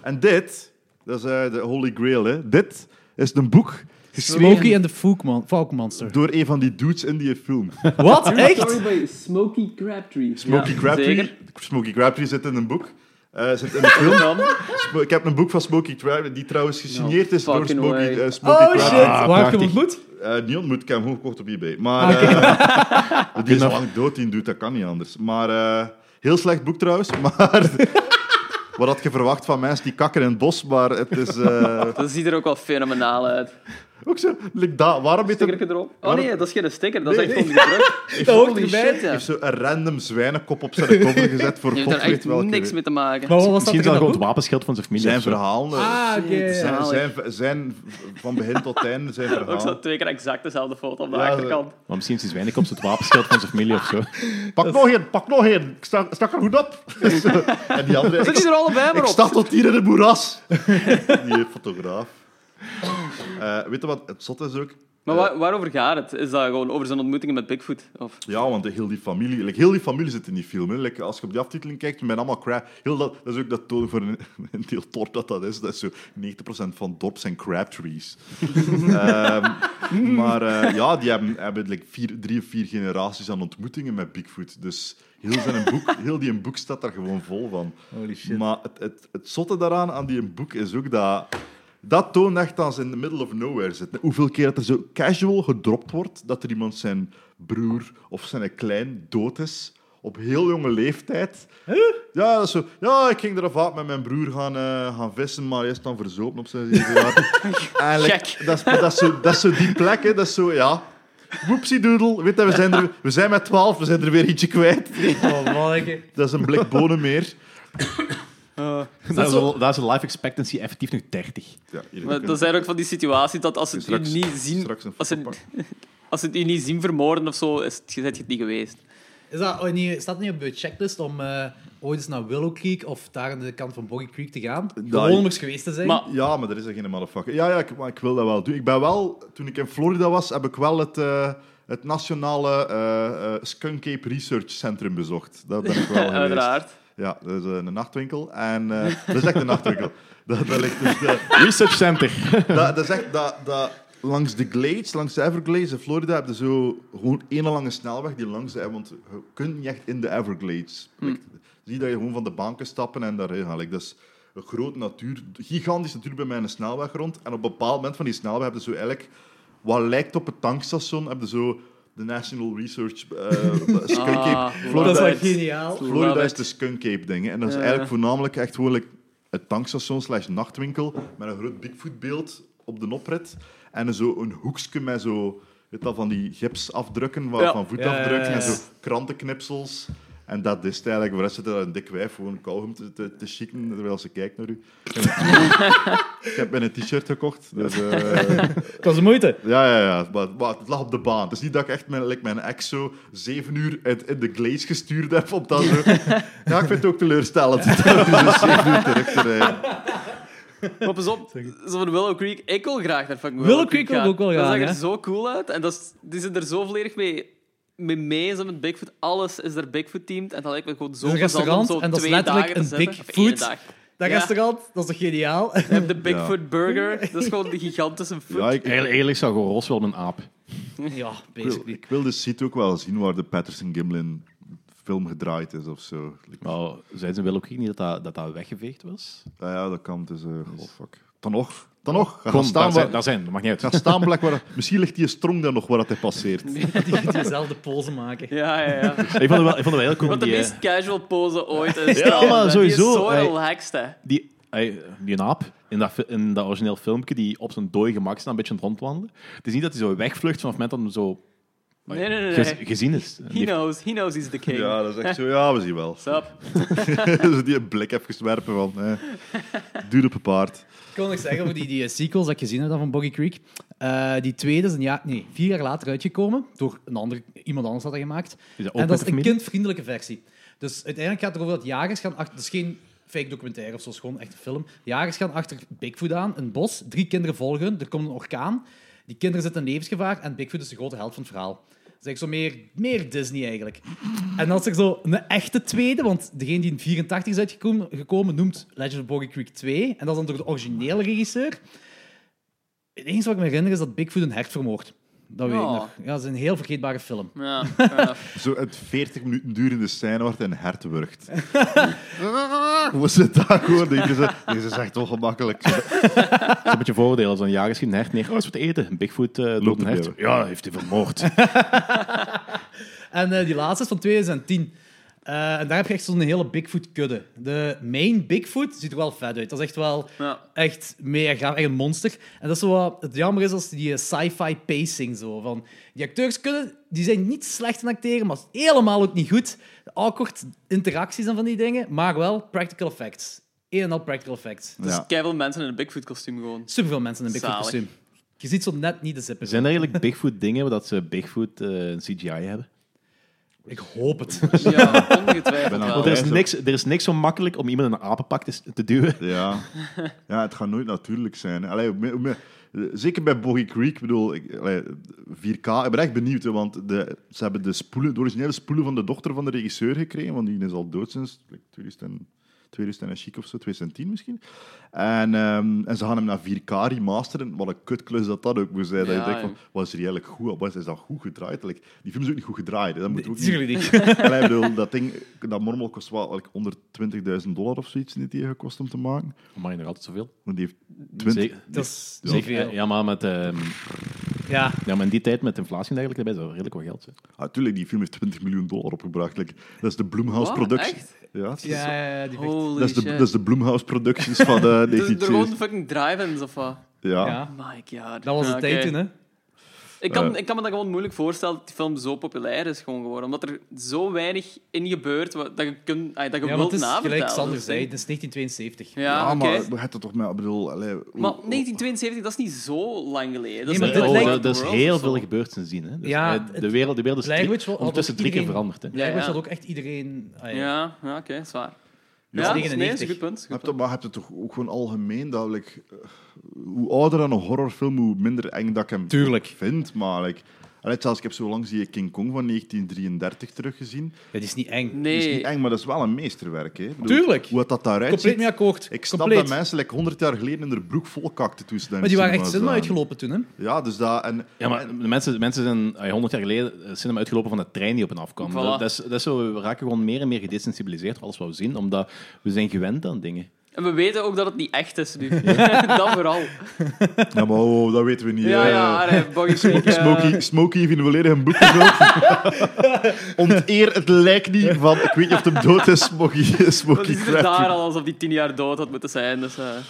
En dit, dat is eh, de Holy Grail, hè. Dit is een boek geschreven Smokey and the Falkman- Falkmonster. door een van die dudes in die film. Wat? Echt? Smoky Crabtree. Smokey Crabtree. Zeker. Smokey Crabtree zit in een boek. Eh, eh, zit in de film. Sp- Ik heb een boek van Smokey Tra- die trouwens gesigneerd is door Nou, fucking Smokey, way. eh, Smokey Oh shit, Tra- prachtig. waar heb je hem ontmoet? eh niet ontmoet, ik heb hem gewoon gekocht op eBay. Maar eh, die is al lang dood, die doet, dat kan niet anders. Maar eh, heel slecht boek trouwens, maar... Wat had je verwacht van mensen die kakken in het bos, maar het is eh, Dat ziet er ook wel fenomenaal uit. ook zo... like dat, waarom heeft Sticker het erop. Oh Waarom- nee, dat is geen sticker, dat is Nee, echt nee. gewoon die druk. Dat hoort Holy erbij. shit, ja. heeft zo een random zwijnenkop op zijn cover gezet voor Je hebt god daar weet echt welke... niks mee te maken. Maar wat was dat Misschien er is dat in dat gewoon het boek? wapenschild van zijn familie. Zijn of zo. verhalen... eh, Ah, oké. ja, ja. zijn, zalig. zijn, zijn van begin tot einde zijn Ook zo verhaal. twee keer exact dezelfde foto op de Ja, achterkant. Maar misschien is die zwijnenkomst het wapenschild van zijn familie of zo. Pak nog één, pak nog één. Ik sta, stak er goed op. en die andere... Zit die er allebei maar Ik op? sta tot hier in het moeras. Die fotograaf. Eh, weet je wat het zot is ook? Maar waar- waarover gaat het? Is dat gewoon over zijn ontmoetingen met Bigfoot? Of? Ja, want heel die familie, like, heel die familie zit in die film. Hè. Like, als je op die aftiteling kijkt, men allemaal crap. Heel dat, dat is ook dat toon voor een, een deel dorp dat dat is. Dat is zo 90% van het dorp zijn crabtrees. Ehm maar eh, ja, die hebben, hebben like, vier, drie of vier generaties aan ontmoetingen met Bigfoot. Dus heel, zijn boek, heel die boek staat daar gewoon vol van. Holy shit. Maar het, het, het zotte daaraan aan die boek is ook dat... Dat toont echt als in the middle of nowhere zit. Hoeveel keer dat er zo casual gedropt wordt dat er iemand zijn broer of zijn klein dood is op heel jonge leeftijd. Ja, dat is zo, ja, ik ging eraf uit met mijn broer gaan, eh, gaan vissen, maar hij is dan verzopen op zijn zeven jaar. Eigenlijk, Check. Dat, is, dat, is zo, dat is zo die plek, hè, dat is zo, ja... Woepsiedoedel, weet dat, we zijn, er, we zijn met twaalf, we zijn er weer ietsje kwijt. Oh, manneke. Dat is een blik bonen meer. Dat is, wel- dat is een life expectancy effectief nu 30. Ja, hier, Maar we dat zijn ook van die situaties dat als ze het u Straks- niet zien... straks een Als ze, foto als ze het u niet zien vermoorden of zo, is het, je bent het niet geweest. Is dat, oh, niet, staat niet op je checklist om eh, ooit eens naar Willow Creek of daar aan de kant van Boggy Creek te gaan? Gewoon om eens geweest te zijn. Maar- Ja, maar er is er geen motherfucker. Ja, ja ik, maar ik wil dat wel doen. Ik ben wel, toen ik in Florida was, heb ik wel het, eh, het nationale eh, eh, Skunk Ape Research Centrum bezocht. Dat ben ik wel geweest. Uiteraard. Ja, dat is eh, een nachtwinkel. En, eh, dat is echt een nachtwinkel. Dat, dat ligt dus... eh, Research Center. dat, dat is echt dat, dat langs de Glades, langs de Everglades in Florida, heb je zo gewoon een lange snelweg die langs de... Want je kunt niet echt in de Everglades. Mm. Like, zie dat je gewoon van de baan kunt stappen en daarheen gaan. Like, dat is een groot natuur, gigantisch natuur bij mij een snelweg rond. En op een bepaald moment van die snelweg heb je zo eigenlijk... Wat lijkt op het tankstation, heb je zo de National Research... eh, Skunk Ape. Ah, Florida Love dat is wel it. geniaal. Florida Love is it. de Skunk Ape ding. hè. En dat is Ja. eigenlijk voornamelijk echt gewoon like, het tankstation slash nachtwinkel met een groot Bigfoot beeld op de oprit. En zo een hoekje met zo, weet dat, van die gipsafdrukken, van, Ja. van voetafdrukken Ja, ja, ja. en zo krantenknipsels. En dat is het eigenlijk. Voor de rest zit er een dik wijf gewoon kauwgom te, te, te chicken terwijl ze kijkt naar u. Ik heb mij een t-shirt gekocht. Dus, eh, Dat is de moeite. ja, ja, ja. Maar, maar het lag op de baan. Het is niet dat ik echt mijn, like mijn ex zo zeven uur in, in de glaze gestuurd heb op dat zo. Ja, ik vind het ook teleurstellend. Dat is dus zeven uur terug te rijden. Maar pas op, zo van Willow Creek. Ik wil graag naar fucking Willow Creek wil ik gaan. ook wel Dat gaan, zag er hè? zo cool uit. En dat is, die zitten er zo volledig mee, mee mee. Zo met Bigfoot. Alles is er Bigfoot-teamed. En dat lijkt me gewoon zo is een plezant om restaurant zo en dat is twee letterlijk dagen te een zitten. Of één Bigfoot. dag. Dat Ja. restaurant, dat is toch geniaal? Je hebt de Bigfoot Burger. Dat is gewoon de gigantische foot. Ja, ik, Eigenlijk, eigenlijk zou gewoon Ros wel een aap. ja, ik wil, basically. ik wil de site ook wel zien waar de Patterson Gimlin film gedraaid is of zo. Maar zijn ze wel ook niet dat dat, dat, dat weggeveegd was? Ja, ja dat kan. Dus, eh oh, fuck. Dan nog. Dan nog. Ga gaan daar staan, zijn, waar, daar zijn, dat mag niet gaan uit. staan plek waar... Misschien ligt die strong daar nog waar dat hij passeert. Die gaat diezelfde pose maken. Ja, ja, ja. ik, vond het wel, ik vond het wel heel cool. Wat de die, eh, meest casual pose ooit is. Ja, dat. maar sowieso, Die is zo hij- relaxed, hè. Die, ey, die naap in dat, fi- in dat origineel filmpje die op zijn dode gemak staat een beetje aan het rondwandelen. Het is niet dat hij zo wegvlucht vanaf het moment dat hem zo Nee, nee, nee. gez- nee. gezien is. He knows. He knows he's the king. Ja, dat is echt zo. Ja, we zien wel. Sup? Dus die een blik even werpen van... Eh, duur op een paard. Ik kon nog zeggen over die, die eh, sequels dat ik gezien heb dan van Boggy Creek. Eh, die tweede is een jaar, nee, vier jaar later uitgekomen. Door een ander, iemand anders had dat gemaakt. Is dat ook en dat met de is een familie? kindvriendelijke versie. Dus uiteindelijk gaat het erover dat jagers gaan achter... Dus geen fake documentaire of zo, het is gewoon echt een film. Jagers gaan achter Bigfoot aan, een bos. Drie kinderen volgen, hun, er komt een orkaan. Die kinderen zitten in levensgevaar en Bigfoot is de grote held van het verhaal. Dat is eigenlijk zo meer, meer Disney eigenlijk. En dan is er zo een echte tweede, want degene die in 84 is uitgekomen gekomen, noemt Legend of Boggy Creek 2. En dat is dan door de originele regisseur. Het enige wat ik me herinner is dat Bigfoot een hert vermoordt. Dat weet Ja. ik nog. Ja, dat is een heel vergeetbare film. Ja, fair enough. Zo het 40 minuten durende scène wordt en hert wurgt. Hoe zit dat gewoon? Denken ze, deze is echt ongemakkelijk. is een beetje voordeel. Als een jaar is geen hert neer. Oh, is wat te eten. Bigfoot eh loopt een hert. erbij. Ja, heeft hij vermoord. En eh, die laatste is van 2010. Eh, en daar heb je echt zo'n hele Bigfoot-kudde. De main Bigfoot ziet er wel vet uit. Dat is echt wel Ja. echt mega gaaf, echt een monster. En dat is zo wat het jammer is als die eh, sci-fi pacing zo. Van, die acteurs kunnen, die zijn niet slecht in acteren, maar helemaal ook niet goed. De awkward interacties en van die dingen, maar wel practical effects. Een en al practical effects. Dus Ja. keiveel mensen in een Bigfoot-kostuum gewoon. Superveel mensen in een Bigfoot-kostuum. Je ziet zo net niet de zippen. Zijn er eigenlijk Bigfoot dingen waar dat ze Bigfoot eh, een CGI hebben? Ik hoop het. Ja, ongetwijfeld Ben aan Want wel. er is, Ja, zo. niks, er is niks zo makkelijk om iemand in een apenpak te, te duwen. Ja. ja, het gaat nooit natuurlijk zijn. hè. Allee, me- me- zeker bij Boggy Creek, ik bedoel, ik, allee, 4K, ik ben echt benieuwd, hè, want de, ze hebben de, spoelen, de originele spoelen van de dochter van de regisseur gekregen, want die is al dood sinds like, 2000 2000 en chic of zo, 2010 misschien. En, ehm, en ze gaan hem naar 4K remasteren. Wat een kutklus dat dat ook moet zijn. dat Ja, je denkt van, ja. wat is er eigenlijk goed? aan? Wat is dat goed gedraaid? Like, die film is ook niet goed gedraaid. hè. Dat moet ook niet... Tuurlijk niet. Allee, ik bedoel, dat ding, dat mormel kost wel like, 120.000 dollar of zoiets, niet die het gekost om te maken. Mag je nog altijd zoveel? Want die heeft 20. Zeker. Dat is Ja. niet veel. eh, Ja, maar met, ehm, Ja. ja, maar in die tijd met inflatie en dergelijke erbij zou redelijk wat geld zijn. Natuurlijk, Ah, die film heeft 20 miljoen dollar opgebracht. Like, dat is de Blumhouse Wat? Productions. Echt? Ja, dat is, Ja, ja, ja, die vecht. Holy dat is de, shit. dat is de Blumhouse Productions van eh Dus er gewoon 1970. fucking drive-ins of wat? Ja. Ja. My god. Dat was de Ja, tijd oké. toen, hè? Ik kan, Eh. ik kan me dat gewoon moeilijk voorstellen dat die film zo populair is gewoon geworden. Omdat er zo weinig in gebeurt wat- dat je, kunt, ah, dat je Ja, want wilt het is navertellen. gelijk Sander Dus zei, denk- het is 1972. Ja, Ja, oké. maar we hebben toch met, ik bedoel, allee, hoe- Maar 1972, dat is niet zo lang geleden. Dat is Nee, maar de dit Oh, World lijkt- dat, dat is of zo. heel veel gebeurd sindsdien. Hè. Dus, Ja, eh, de, het- wereld, de wereld is Language drie, wel- had ondertussen ook drie keer iedereen- veranderd. Hè. Blijkbaar ja. had ook echt iedereen... ah, ja. Ja, ja oké, zwaar. Ja, is dat is, nee, dat is een 99. goed punt. Heb Goed je- punt. maar heb je toch ook gewoon algemeen dat like, eh, hoe ouder dan een horrorfilm, hoe minder eng dat ik hem Tuurlijk. vind. Maar like, allee, zelfs, ik heb zo langs die King Kong van 1933 teruggezien. Ja, die is niet eng. Dat is Nee, niet eng, maar dat is wel een meesterwerk. Hè. Ik bedoel, Tuurlijk. Hoe dat daaruit Compleet ziet, mee akkoord. Ik snap Compleet. dat mensen like, 100 jaar geleden in de broek vol kakten toen ze daar Maar die in waren echt cinema's cinema waren. uitgelopen toen, hè? Ja, dus dat... En, Ja, maar de mensen, de mensen zijn eh, 100 jaar geleden eh, cinema uitgelopen van de trein die op hen afkwam. Voilà. Dat, dat is, dat is zo, we raken gewoon meer en meer gedesensibiliseerd voor alles wat we zien, omdat we zijn gewend aan dingen. en we weten ook dat het niet echt is nu. dat vooral. ja, maar oh, dat weten we niet. Ja, hè. ja, allee, Boggy Creek, Smokey, eh, Smokey, Smokey heeft in volledig een boek gezet. Onteer het lijkt niet van... Ik weet niet of hem dood is, Smokey. Dat Smokey is er daar Crabtree. al alsof die tien jaar dood had moeten zijn. Dus, eh,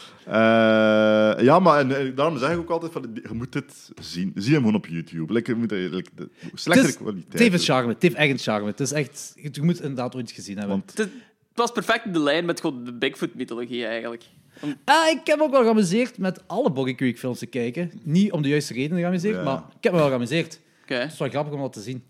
Eh, ja, maar en, en daarom zeg ik ook altijd van... Je moet dit zien. Zie hem gewoon op YouTube. Like, je moet, dat- like, de- Het slechtere is- Het kwaliteit. heeft een charme. Het heeft echt een charme. Het is echt... Je moet het inderdaad ooit gezien hebben. Want- het, is- het was perfect in de lijn met gewoon de Bigfoot-mythologie eigenlijk. Ah, ik heb ook wel geamuseerd met alle Boggy Creek films te kijken. Niet om de juiste redenen geamuseerd, Ja. maar ik heb me wel geamuseerd. Het Oké. is wel grappig om dat te zien.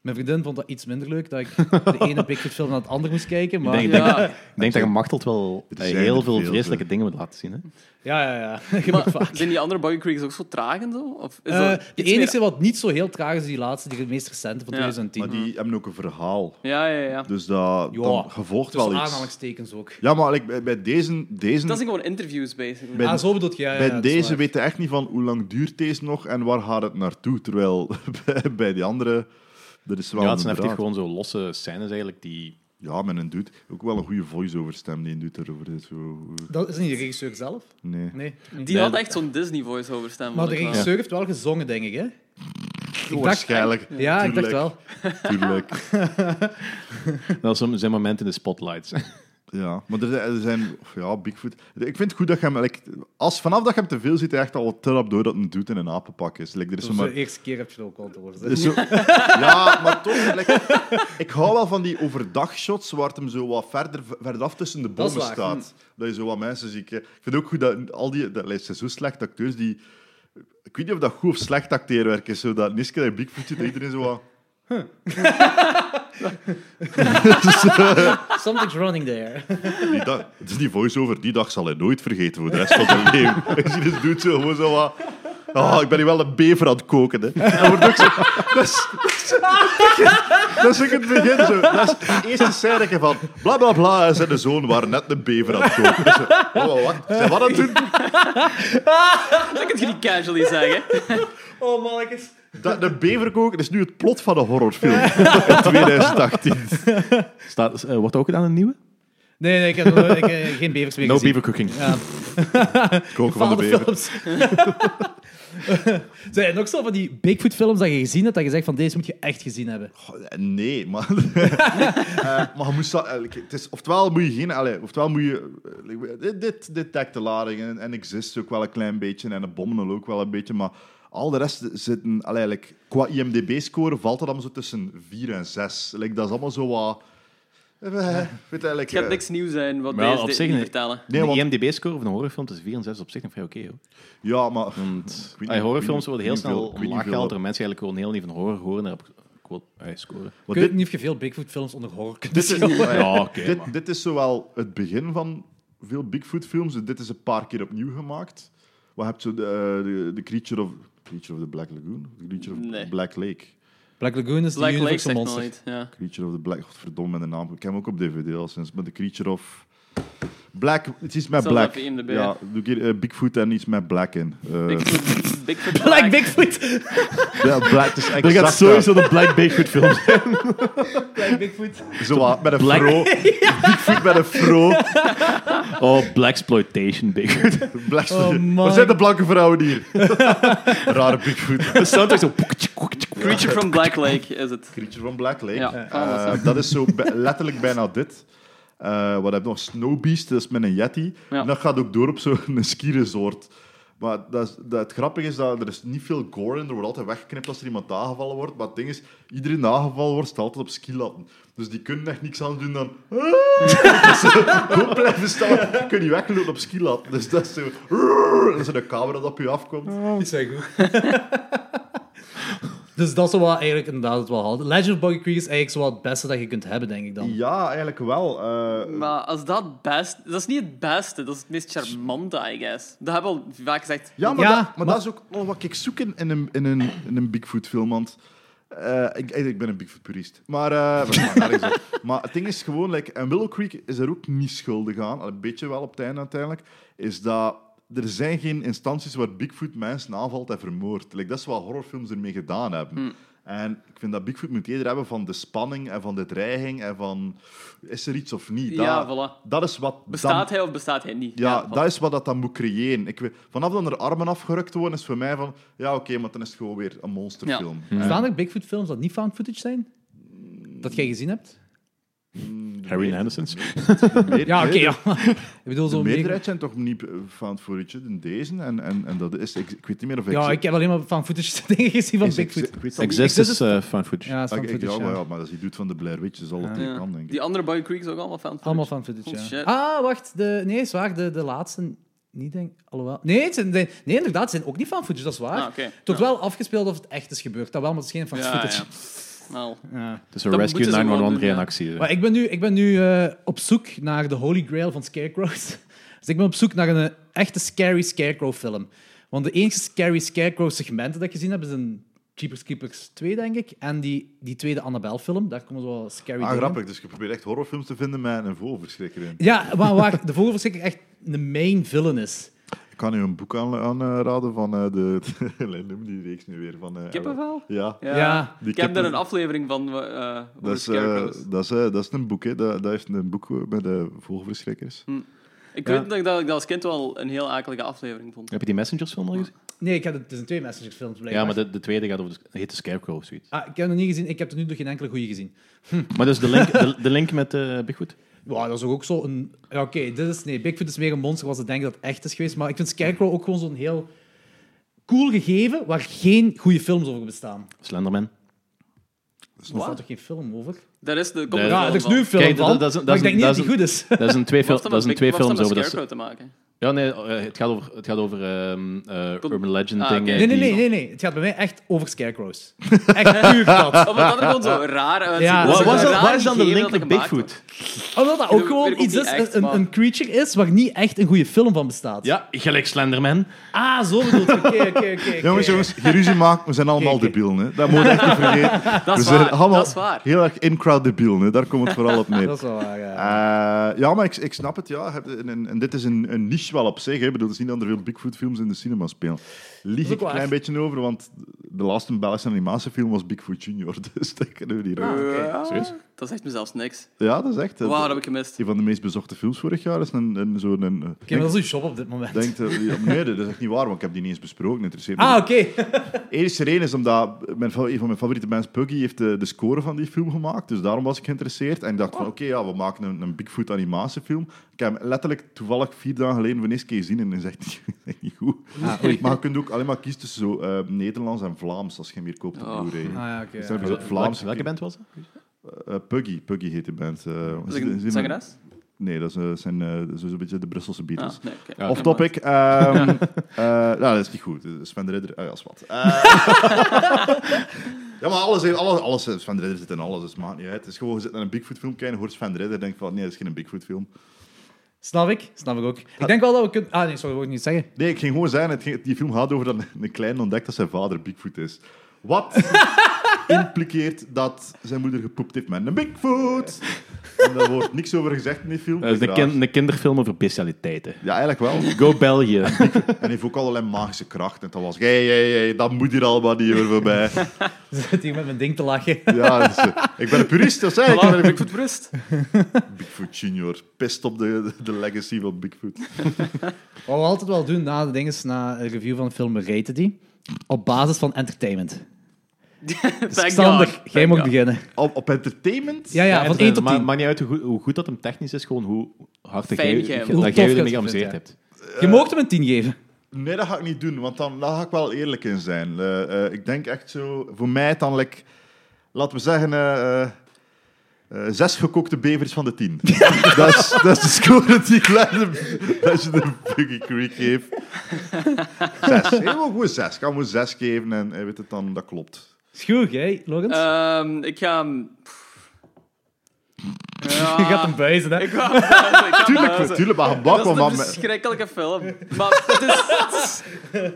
Mijn vriendin vond dat iets minder leuk, dat ik de ene Bigfoot film naar het andere moest kijken. Maar... Ik denk- Ja. Ik denk dat je Machteld wel eh, zijn heel er veel veel, vreselijke hè. dingen moet laten zien. Hè? Ja, ja, ja. Je Maar mag vaak. zijn die andere Buggy Creeks ook zo traag en zo? Of is Eh, dat de iets meer- enige wat niet zo heel traag is, die laatste, die meest recente van Ja. 2010. Maar die hebben ook een verhaal. Ja, ja, ja. Dus dat Ja, dan gevolgt Tussen wel iets. aanhalingstekens ook. Ja, maar like, bij, bij deze... deze Dat zijn gewoon interviews, basically. bij- ah, zo bedoel je. Ja, ja, bij ja, dat is deze waar. weet je echt niet van hoe lang duurt deze nog en waar gaat het naartoe. Terwijl bij, bij die andere, er is wel Ja, een het zijn draad. effectief gewoon zo losse scènes eigenlijk die... Ja, met een dude. Ook wel een goede voice-over stem die een dude erover is. Zo, Dat is niet de regisseur zelf? Nee. Nee. niet. Die had echt zo'n Disney voice-over stem. Maar vond de ik wel. regisseur heeft wel gezongen, denk ik, hè? Ik dacht, Waarschijnlijk. ja, ik dacht Tuurlijk. wel. Tuurlijk. Dat is zijn moment in de spotlights. Ja, maar er zijn, er zijn- Ja, Bigfoot... Ik vind het goed dat je hem... like, als, vanaf dat je hem te veel ziet, hij echt al trap door dat een dude in een apenpak is. Like, er is Dat zo was maar... de eerste keer heb je het ook al door. er is zo- ja, maar toch... like, ik hou wel van die overdagshots waar het hem zo wat verder, verder af tussen de Dat is bomen waar. Hm. staat. Dat je zo wat mensen ziet. Ik vind ook goed dat al die... Dat het zijn zo slecht acteurs die... Ik weet niet of dat goed of slecht acteerwerk is. Zo dat Niske en Bigfoot ziet, dat iedereen zo wat... Something's running there. Die dag, het is die voice-over, die dag zal hij nooit vergeten voor de rest van zijn leven. Hij ziet dus doet zo gewoon zo wat... Ah, ik ben hier wel een bever aan het koken. Hè. Dat, wordt ook zo, dat, is, dat is ook het begin. Zo. Dat is de eerste scène van... Bla, bla, bla, en zijn zoon waren net een bever aan het koken. Zo, oh, wat, wat? Zijn we aan het doen? Dat kun je niet casually zeggen. Oh, mannetjes. Dat, de beverkoker is nu het plot van een horrorfilm. in 2018. Staat, eh, wordt dat ook gedaan een nieuwe? Nee, nee, ik heb nog- ik, eh, geen bevers meer No gezien. beaver cooking. Ja. Koken van de Bepaalde bever. films. Zijn er nog zo van die Bigfoot-films dat je gezien hebt, dat je zegt van deze moet je echt gezien hebben? Goh, Nee, maar, Eh, maar je moest dat, eigenlijk- het is, oftewel moet je geen, allee, oftewel moet je eh, dit, dit, dit dekt de lading en, en exist ook wel een klein beetje en abominable ook wel een beetje, maar al de rest zitten, allee, eigenlijk, qua IMDb-score valt dat allemaal zo tussen 4 en 6. Like, dat is allemaal zo wat. eh, weet eigenlijk, Het gaat eh, niks nieuws zijn wat Wel, deze op dit zich niet niet. vertellen. Nee, want- de IMDb-score van een horrorfilm tussen 4 en 6 is op zich nog vrij oké. hoor. Ja, maar Want Ik weet ah, niet- ik weet horrorfilms worden heel niet snel veel- ik weet niet omlaag veel gehaald dat- door mensen die eigenlijk gewoon heel niet van horror horen. Daar heb ik quote uit scoren. wat ik weet dit, niet of je veel Bigfoot-films onder horror kunt dit, is, Ja, oké. maar- dit, dit is zowel het begin van veel Bigfoot-films. Dit is een paar keer opnieuw gemaakt. Wat heb je? De, eh, de, de Creature of... Creature of the Black Lagoon? The Creature of Nee. Black Lake. Black Lagoon is de Black Lake Universal zegt nog Monster. niet. Ja. Creature of the Black... Godverdomme, met de naam. Ik heb hem ook op DVD al sinds. Maar de Creature of... Black... Het is met Zelfs Black. op IMDb, Ja, doe ik eh, Bigfoot en iets met Black in. Eh, Bigfoot, Bigfoot Black Black. Bigfoot! ja, Black, het is Er exact... gaat sowieso de Black Bigfoot film zijn. Black Bigfoot. dat. Zo wat, met een fro. Bigfoot met een fro. Oh, Blaxploitation Bigfoot. Black... Oh, man. Waar zijn de blanke vrouwen hier? Rare Bigfoot. De soundtrack zo... Creature from Black Lake is het. Creature van Black Lake. Ja, Eh, alles. dat is zo bij- letterlijk bijna dit. Eh, wat heb je nog? Snowbeast, dat is met een yeti. Ja. En dat gaat ook door op zo'n ski-resort. Maar dat is, dat, het grappige is dat er is niet veel gore in. Er wordt altijd weggeknipt als er iemand aangevallen wordt. Maar het ding is, iedereen die aangevallen wordt, staat altijd op skilatten. Dus die kunnen echt niks anders doen dan... Dus ze Gewoon blijven staan. Kun je weglopen op skilatten. Dus dat is zo... Dat is een camera dat op je afkomt. Die zijn goed. dus dat is wel eigenlijk inderdaad het wel hadden. Legend of Buggy Creek is eigenlijk zo wel het beste dat je kunt hebben, denk ik dan. Ja, eigenlijk wel. Eh, Maar als dat best... Dat is niet het beste, dat is het meest charmante, I guess. Dat hebben we al vaak gezegd. Ja, maar, Ja, dat, maar, maar- dat is ook wel wat ik zoek in, in een, in een, in een Bigfoot-film. Want eh, ik, ik ben een Bigfoot-purist. Maar, eh, maar, daar is het. maar het ding is gewoon... Like, en Willow Creek is er ook niet schuldig aan. Al Een beetje wel op het einde uiteindelijk. Is dat... Er zijn geen instanties waar Bigfoot mensen aanvalt en vermoordt. Like, dat is wat horrorfilms ermee gedaan hebben. Hmm. En ik vind dat Bigfoot moet eerder hebben van de spanning en van de dreiging en van... Is er iets of niet? Dat, Ja, voilà. dat is wat... Bestaat dan- hij of bestaat hij niet? ja, voilà. dat is wat dat dan moet creëren. Ik weet, vanaf dat er armen afgerukt worden, is voor mij van... Ja, oké, maar dan is het gewoon weer een monsterfilm. Eh, Staan er Bigfoot-films dat niet found footage zijn? Dat jij gezien hebt? Harry and Henderson's. Meer- Ja, oké, meerder- ja. ik bedoel De zo'n meerderheid zijn toch niet eh, found footage in deze? En, en, en dat is... Ik, ik weet niet meer of ik... Ja, ik heb alleen maar found footage dingen gezien van is ik- Bigfoot. Ik weet dat Exist is eh, fan footage. Ja, dat is ik- found ik- ja, footage, maar, ja. ja, maar dat is die dude van de Blair Witch. Dus al dat Ja. die kan, denk ik. Die andere Boy Creek is ook allemaal fan Allemaal found footage, Oh, ja. shit. Ah, wacht, de, nee, is waar, de, de laatste... Niet denk, alhoewel. Nee, het zijn, nee, nee, inderdaad, het zijn ook niet found footage, dat is waar. Ah, oké. Toch Ja. wel afgespeeld of het echt is gebeurd. Dat wel, maar het is geen found Ja, footage. ja. Nou, Dus een Dat Rescue moeten ze gewoon 911 doen, ja. reactie. Maar ik ben nu, ik ben nu eh, op zoek naar de Holy Grail van Scarecrows. Dus ik ben op zoek naar een eh, echte Scary Scarecrow film. Want de enige Scary Scarecrow segmenten dat ik gezien heb, is een Jeepers Creepers 2, denk ik. En die, die tweede Annabelle film, daar komen zo wel scary Ah, dingen in. grappig. Dus je probeert echt horrorfilms te vinden met een vogelverschrikker in. Ja, maar waar de vogelverschrikker echt de main villain is. Ik kan u een boek aan- aanraden van eh, de... Noem die reeks nu weer. Van, eh, Kippenvel? Ja. ja. Ja. Die Ik heb daar kippen- een aflevering van eh over Dat is, eh, Scarecrows. dat, is, eh, dat is een boek, hè. Dat, dat heeft een boek eh, bij de vogelverschrikkers. Ik weet nog dat ik dat als kind wel een heel akelige aflevering vond. Heb je die Messengers film al gezien? Nee, ik heb het, het is een twee messengers film. blijkbaar. Ja, maar de, de tweede gaat over de, heet de Scarecrow of zoiets. Ah, ik heb het niet gezien. Ik heb er nu nog geen enkele goede gezien. Maar dus de link, de, de link met eh Bigfoot. Ja, dat is toch ook zo een... Ja, oké, dit is... Nee, Bigfoot is meer een monster wat ze denken dat het echt is geweest. Maar ik vind Scarecrow ook gewoon zo'n heel cool gegeven waar geen goede films over bestaan. Slenderman. Er staat toch geen film over? Daar is de... Nee. Ja, er is nu een film Kijk, dat- van, dat is een- maar ik dat denk is niet dat een- die goed is. Dat zijn twee, fil- Wat dat zijn twee films over. Dat is- Scarecrow te maken? ja, nee, eh, het gaat over, het gaat over ehm, eh, Tot- urban legend Ah, dingen. oké. Nee, nee, die- nee, nee, nee. Het gaat bij mij echt over Scarecrows. Echt puur dat. Of Oh, dat er gewoon zo raar uitziet. Ja. Dat Wat is wat is een dan- raar wat is dan de gegeven link dat met gemaakt Bigfoot? wordt. Omdat dat weet ook ook gewoon niet iets is, echt, een, maar- een creature is waar niet echt een goede film van bestaat. Ja, gelijk Slenderman. Ah, zo bedoeld. Oké, oké, oké, oké. Jongens, jongens, geen ruzie maken. We zijn allemaal Kijk, debielen, hè. Dat moet je echt niet vergeten. Dat We is zijn waar, allemaal dat is waar. heel erg in-crowd debielen, hè. Daar komt het vooral op neer. Dat is wel waar, ja. Eh, ja, maar ik, ik snap het, ja. Heb- En, en- en dit is een, een niche wel op zich, hè. Ik bedoel, het is niet dat er veel Bigfoot-films in de cinema spelen. Lieg is ook ik een waar. klein beetje over, want de laatste Belgische animatiefilm was Bigfoot Junior, dus dat kunnen we niet Ah, over. oké. Serieus? Dat zegt me zelfs niks. Ja, dat is echt... eh, Wauw, dat heb ik gemist. Een van de meest bezochte films vorig jaar is een, een, zo'n... Een, eh, Oké, maar dat is uw job op dit moment. denkt, eh, ja, nee, dat is echt niet waar, want ik heb die niet eens besproken. dat Interesseert me Ah, oké. enige reden is omdat mijn, fa- een van mijn favoriete bands, Puggy, heeft de, de score van die film gemaakt. Dus daarom was ik geïnteresseerd. En ik dacht van, oké, ja, we maken een, een Bigfoot animatiefilm. Ik heb hem letterlijk toevallig vier dagen geleden voor de eerste keer gezien en dat is echt niet, echt niet goed. maar je kunt ook alleen maar kiezen tussen zo, eh, Nederlands en Vlaams, als je hem hier koopt op Oh. Blu-ray. Ah, ja, oké. Dus dan ja. heb je zo Vlaams... Welke band was dat? Eh, Puggy, Puggy heet die band. Eh, Is ze- ik ze- ze- een zangeres? Nee, dat is, eh, zijn eh, zo- zo'n beetje de Brusselse Beatles. Ah, nee, oké. Ja. Off topic. ehm eh, nou, dat is niet goed. Sven de Ridder, eh, als wat. Eh, ja, maar alles, heeft- alles, alles, eh, Sven de Ridder zit in alles, dus het maakt niet uit. Het is gewoon, je zit naar een Bigfoot-film kijken, hoort Sven de Ridder, denk van, nee, dat is geen Bigfoot-film. Snap ik, snap ik ook. Ik denk wel dat we kunnen... Ah, nee, sorry, dat wil ik niet zeggen. Nee, ik ging gewoon zeggen, het ging- die film gaat over dat een kleine ontdekt dat zijn vader Bigfoot is. Wat impliceert dat zijn moeder gepoept heeft met een Bigfoot? En daar wordt niks over gezegd in die film. Dat is een, Raar. kin- een kinderfilm over bestialiteiten. Ja, eigenlijk wel. Go België. En hij heeft ook allerlei magische krachten. En toen was ik, hey, hey, hey, dat moet hier allemaal niet over voorbij. Ze zit hier met mijn ding te lachen. Ja, dus, eh, ik ben een purist, dat zei ik. Ik Voilà, ben een Bigfoot Brust. Bigfoot Junior. Pist op de, de legacy van Bigfoot. Wat we altijd wel doen na de dingen, is na een review van een film, we raten die. Op basis van entertainment. Thank Sander, God. jij Thank mag God. beginnen. Op, op entertainment? Ja, ja, van 1 tot Ma- 10. eh, Maakt niet uit hoe, goed- hoe goed dat hem technisch is, gewoon hoe hard dat Fijn jij jij hem- dat Hoe tof jij jij je het ermee geamuseerd vindt, hebt. Je mocht hem een 10 geven. Nee, dat ga ik niet doen, want dan, daar ga ik wel eerlijk in zijn. Eh, eh, ik denk echt zo, voor mij dan, like, laten we zeggen, eh, eh, eh, zes gekookte bevers van de tien. dat, is, dat is de score die ik leid als je de Buggy Creek geeft. Zes. Helemaal gewoon zes. Ik kan gewoon zes geven en eh, weet het dan, dat klopt. Is goed, jij, Logans? Ehm, ik ga... hem- Pff. Ja, je gaat hem buizen, hè? Ik ga hem buizen, ik ga hem Tuurlijk, buizen. natuurlijk, maar gebak, Dat is want een dan- verschrikkelijke film. Maar het is, het is,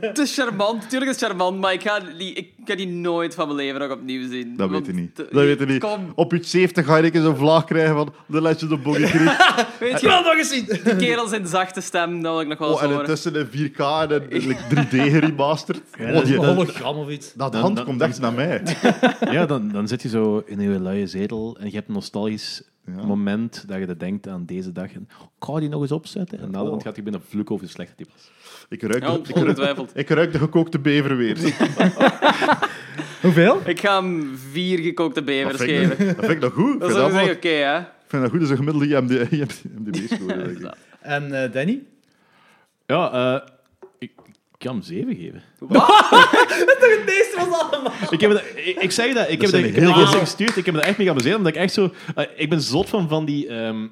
het is charmant. Tuurlijk is het charmant, maar ik ga, die, ik ga die nooit van mijn leven nog opnieuw zien. Dat Want weet je niet. de- Dat weet je niet. Kom, Op je 70 ga je een keer zo'n vlaag krijgen van de Legend of Boggy Creek. weet Ik je, wil nog eens zien. die kerel zijn zachte stem, dat wil ik nog wel eens Oh, en horen. intussen in 4K en in, like, 3D geremasterd. Oh, die- Een dat, hologram of iets. dat Dan- hand dan- komt echt naar mij. Ja, dan, dan zit je zo in een luie zetel en je hebt een nostalgisch Ja. moment dat je dat denkt aan deze dag. En, "Oh, ik ga die nog eens opzetten. En dan Oh. gaat hij binnen vloeken over hoe slecht dat die was. Ik ruik, Ja, de, ik, ruik, ongetwijfeld. ik ruik de gekookte bever weer. Dat Hoeveel? Ik ga hem vier gekookte bevers vind ik, geven. dat vind ik nog goed. Ik Dat vind is dat, ook zeggen, wel- oké, hè. ik vind dat goed, dat is een gemiddelde IMD, IMDb-score. denk ik. dat. En eh, Danny? Ja, eh, ik, ik kan hem zeven geven. Het meeste was allemaal. Ik, heb het, ik, ik zeg dat, ik heb zijn dat ik heel heb veel dat gestuurd. Ik heb me daar echt mee geamuseerd. Omdat ik echt zo... eh, ik ben zot van van die... ehm,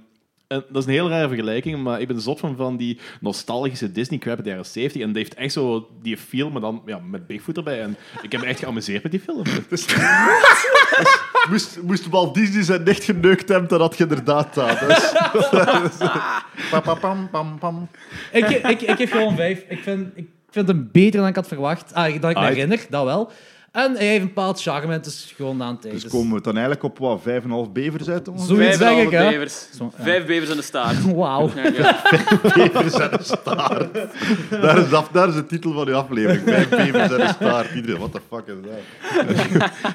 eh, dat is een heel rare vergelijking, maar ik ben zot van van die nostalgische Disney-crap uit de jaren 70. En die heeft echt zo die film, maar dan ja, met Bigfoot erbij. En ik heb me echt geamuseerd met die film. Moest, moest Walt Disney zijn dicht geneukt hebben, dan had je inderdaad dat. Dat is- Pa, pa, pam, pam, pam. Ik, ge- ik, ik geef gewoon vijf. Ik vind, ik vind hem beter dan ik had verwacht. Ah, dat ik me Uit. herinner, dat wel. En hij heeft een bepaald charme, en het is gewoon aan het einde. Dus komen we dan eigenlijk op wat, 5,5 bevers uit? ongeveer? Zoiets Vijf en een zeg ik, halve hè. bevers. Zo, ja. Vijf bevers in de staart. Wauw. Ja, ja. Bevers en een staart. Daar is, af, daar is de titel van uw aflevering. Vijf bevers en een staart. Iedereen, what the fuck is dat?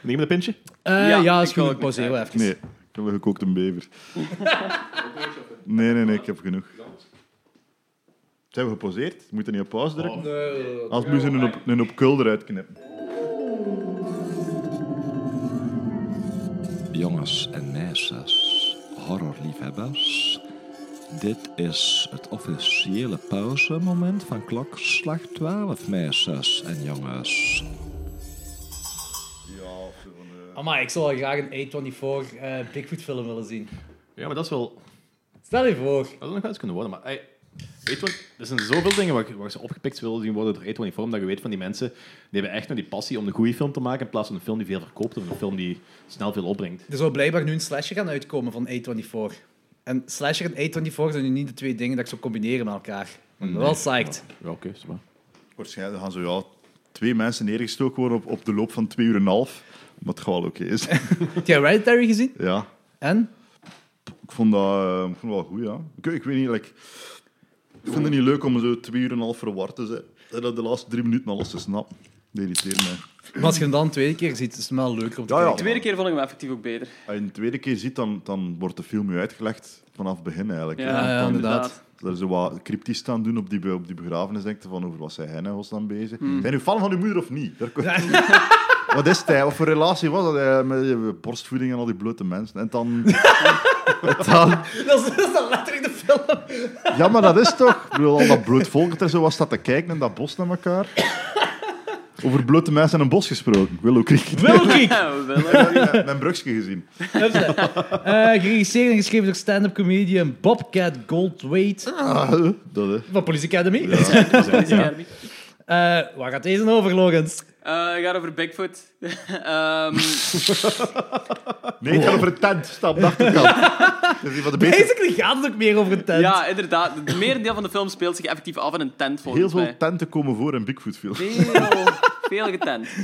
Neem een pintje. Eh, Ja, ja, is ik wil goed. ook Ik pauzeer wel even. Nee, ik heb een gekookte bever. Nee, nee, nee, ik heb genoeg. Zijn we geposeerd? We moeten niet op pauze drukken. Als we een op, een op kul eruit knippen. Jongens en meisjes, horrorliefhebbers. Dit is het officiële pauzemoment van klokslag 12, meisjes en jongens. Amai, ik zou wel graag een A24 eh, Bigfoot-film willen zien. Ja, maar dat is wel... Stel je voor. Dat zou nog wel eens kunnen worden, maar... ey, weet je wat? Er zijn zoveel dingen waar, ik- waar ik ze opgepikt willen zien worden door A24, dat je weet van die mensen, die hebben echt nog die passie om een goede film te maken, in plaats van een film die veel verkoopt, of een film die snel veel opbrengt. Er zou blijkbaar nu een slasher gaan uitkomen van A24. En slasher en A24 zijn nu niet de twee dingen dat ik zou combineren met elkaar. Ik ben wel psyched. Ja, oké, is waar. Waarschijnlijk gaan zo ja, twee mensen neergestoken worden op, op de loop van twee uur en een half. Wat het gewoon oké is. Heb jij Hereditary gezien? Ja, En? ik vond dat, eh, ik vond dat wel goed, ja. Ik, ik weet niet, like, ik vind het niet leuk om zo twee uur en een half verward te zijn. En dat de laatste drie minuten alles te snappen. Dat irriteert mij. Maar als je hem dan een tweede keer ziet, is het wel leuker om te Ja, ja. kijken. tweede keer vond ik hem effectief ook beter. Als je een tweede keer ziet, dan, dan wordt de film je uitgelegd vanaf het begin eigenlijk. Ja, hè. ja, Dan- inderdaad. Dat ze wat cryptisch staan doen op die, be- op die begrafenis. Denk je van over wat zijn hij en Hosnan bezig? Hmm. Zijn u fan van uw moeder of niet? Daar kon- wat is het? hè? Wat voor relatie was dat? hè, Met die borstvoeding en al die blote mensen. En dan. en dan Dat is, dat is dan letterlijk de film. ja, maar dat is toch? Ik bedoel, al dat bloot volk dat er zo was staat te kijken in dat bos naar elkaar. Over blote mensen en een bos gesproken. Willow Creek. Willow Creek. Ja, wel. Mijn- Mijn brugje gezien. Eh, geregisseerd en geschreven door stand-up comedian Bobcat Goldthwait Ah, dat, hè. van Police Academy. Ja. Eh, waar gaat deze over, Logans? Eh, het gaat over Bigfoot. Ehm, Nee, het gaat over een tent. Stap de achterkant. Dat is een van de betere. Basically gaat het ook meer over een tent. ja, inderdaad. Het merendeel van de film speelt zich effectief af in een tent, volgens Heel mij. veel tenten komen voor in Bigfoot films. Veel, veel getent.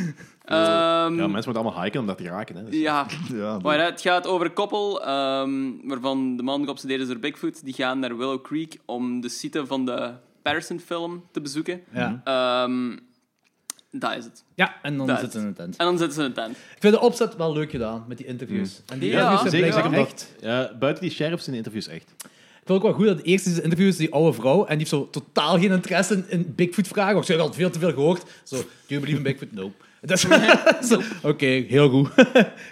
Ehm, Ja, mensen moeten allemaal hiken om dat te raken. Hè. Dus- ja, Ja, Maar dat- ja, het gaat over een koppel ehm, waarvan de man geobsedeerd is door Bigfoot. Die gaan naar Willow Creek om de site van de Patterson-film te bezoeken. Ja. Ehm, dat is het. Ja, en dan Dat. zitten in een tent. En dan zitten ze in een tent. Ik vind de opzet wel leuk gedaan met die interviews. En die Ja, interviews zijn Zeker, blijkbaar omdat- echt. ja, buiten die sheriffs zijn de interviews echt. Ik vond ook wel goed dat eerst is de interview is die oude vrouw en die heeft zo totaal geen interesse in, in Bigfoot-vragen. Of ze heeft al veel te veel gehoord. Zo, do you believe in Bigfoot? No. Dat is- zo, Oké, heel goed.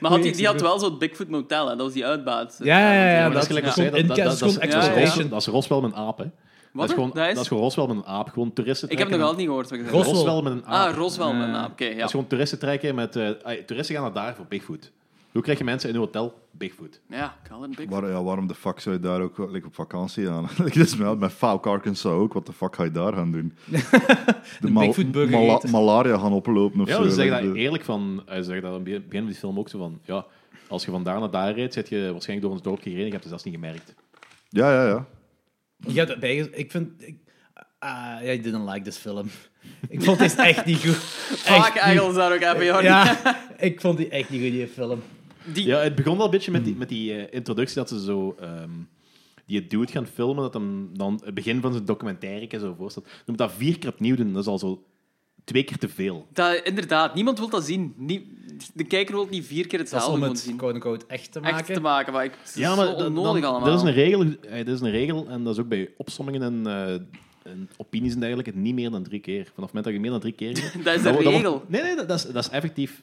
Maar had die, die had wel zo'n Bigfoot Motel, hè? dat was die uitbaat. Ja, ja, ja. Maar dat is gelijk als ja. zij, dat- dat- dat- dat- gewoon dat- dat is exploitation. Ros- Dat is Roswell met een aap, hè. dat, Wat? is gewoon, Dat is- dat is gewoon Roswell met een aap. Gewoon toeristen Ik heb nog trekken altijd niet gehoord wat je zei. Ros- met- Roswell. Roswell met een aap. Ah, Roswell, mijn naam. Oké, ja. Dat is gewoon toeristen trekken met... eh, ai, toeristen gaan naar daar voor Bigfoot. Hoe krijg je mensen in een hotel Bigfoot? Ja, ik had een Bigfoot. Waar, ja, waarom de fuck zou je daar ook like, op vakantie gaan? like, dat is met, met Falk Arkansas ook. Wat de fuck ga je daar gaan doen? de Bigfoot burger eten. malaria gaan oplopen of Ja, zo. ze zeggen like, daar de- eerlijk van... eh, Ze zeggen dat aan het begin begin van die film ook zo van... Ja, als je van daar naar daar rijdt, zit je waarschijnlijk door ons dorpje gereden. Je hebt het zelfs niet gemerkt. ja, ja, ja. Ja, dat- bij- ik vind... Ik, ah, I didn't like this film. Ik vond deze echt niet goed. Vaak echt eigenlijk daar ook even, hoor. Ja, ik vond die echt niet goed, die film. Die, Ja, het begon wel een beetje met Hmm. die, met die eh, introductie dat ze zo... ehm, die dude gaan filmen, dat hem dan het begin van zijn documentaire zo voorstelt. Je moet dat vier keer opnieuw doen, dat is al zo twee keer te veel. dat, inderdaad, niemand wil dat zien. Nie- de kijker wil niet vier keer Dat is hetzelfde om moeten het zien. quote-unquote echt te maken. Echt te maken, maar ik, het is Ja, zo maar dan- onnodig dan- allemaal. Er is, een regel, eh, er is een regel, en dat is ook bij opsommingen en, eh, en opinies en dergelijke, niet meer dan drie keer. Vanaf het moment dat je meer dan drie keer... doet, Dat is de dan wordt- dan regel. wordt- nee, nee, dat, dat is, dat is effectief...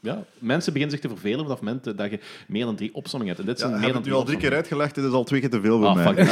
Ja, mensen beginnen zich te vervelen vanaf het moment eh, dat je meer dan drie opsommingen hebt. En dit ja zijn heb meer ik het dan nu al drie keer opsommingen. uitgelegd. Dit is al twee keer te veel voor Ah, mij. fuck.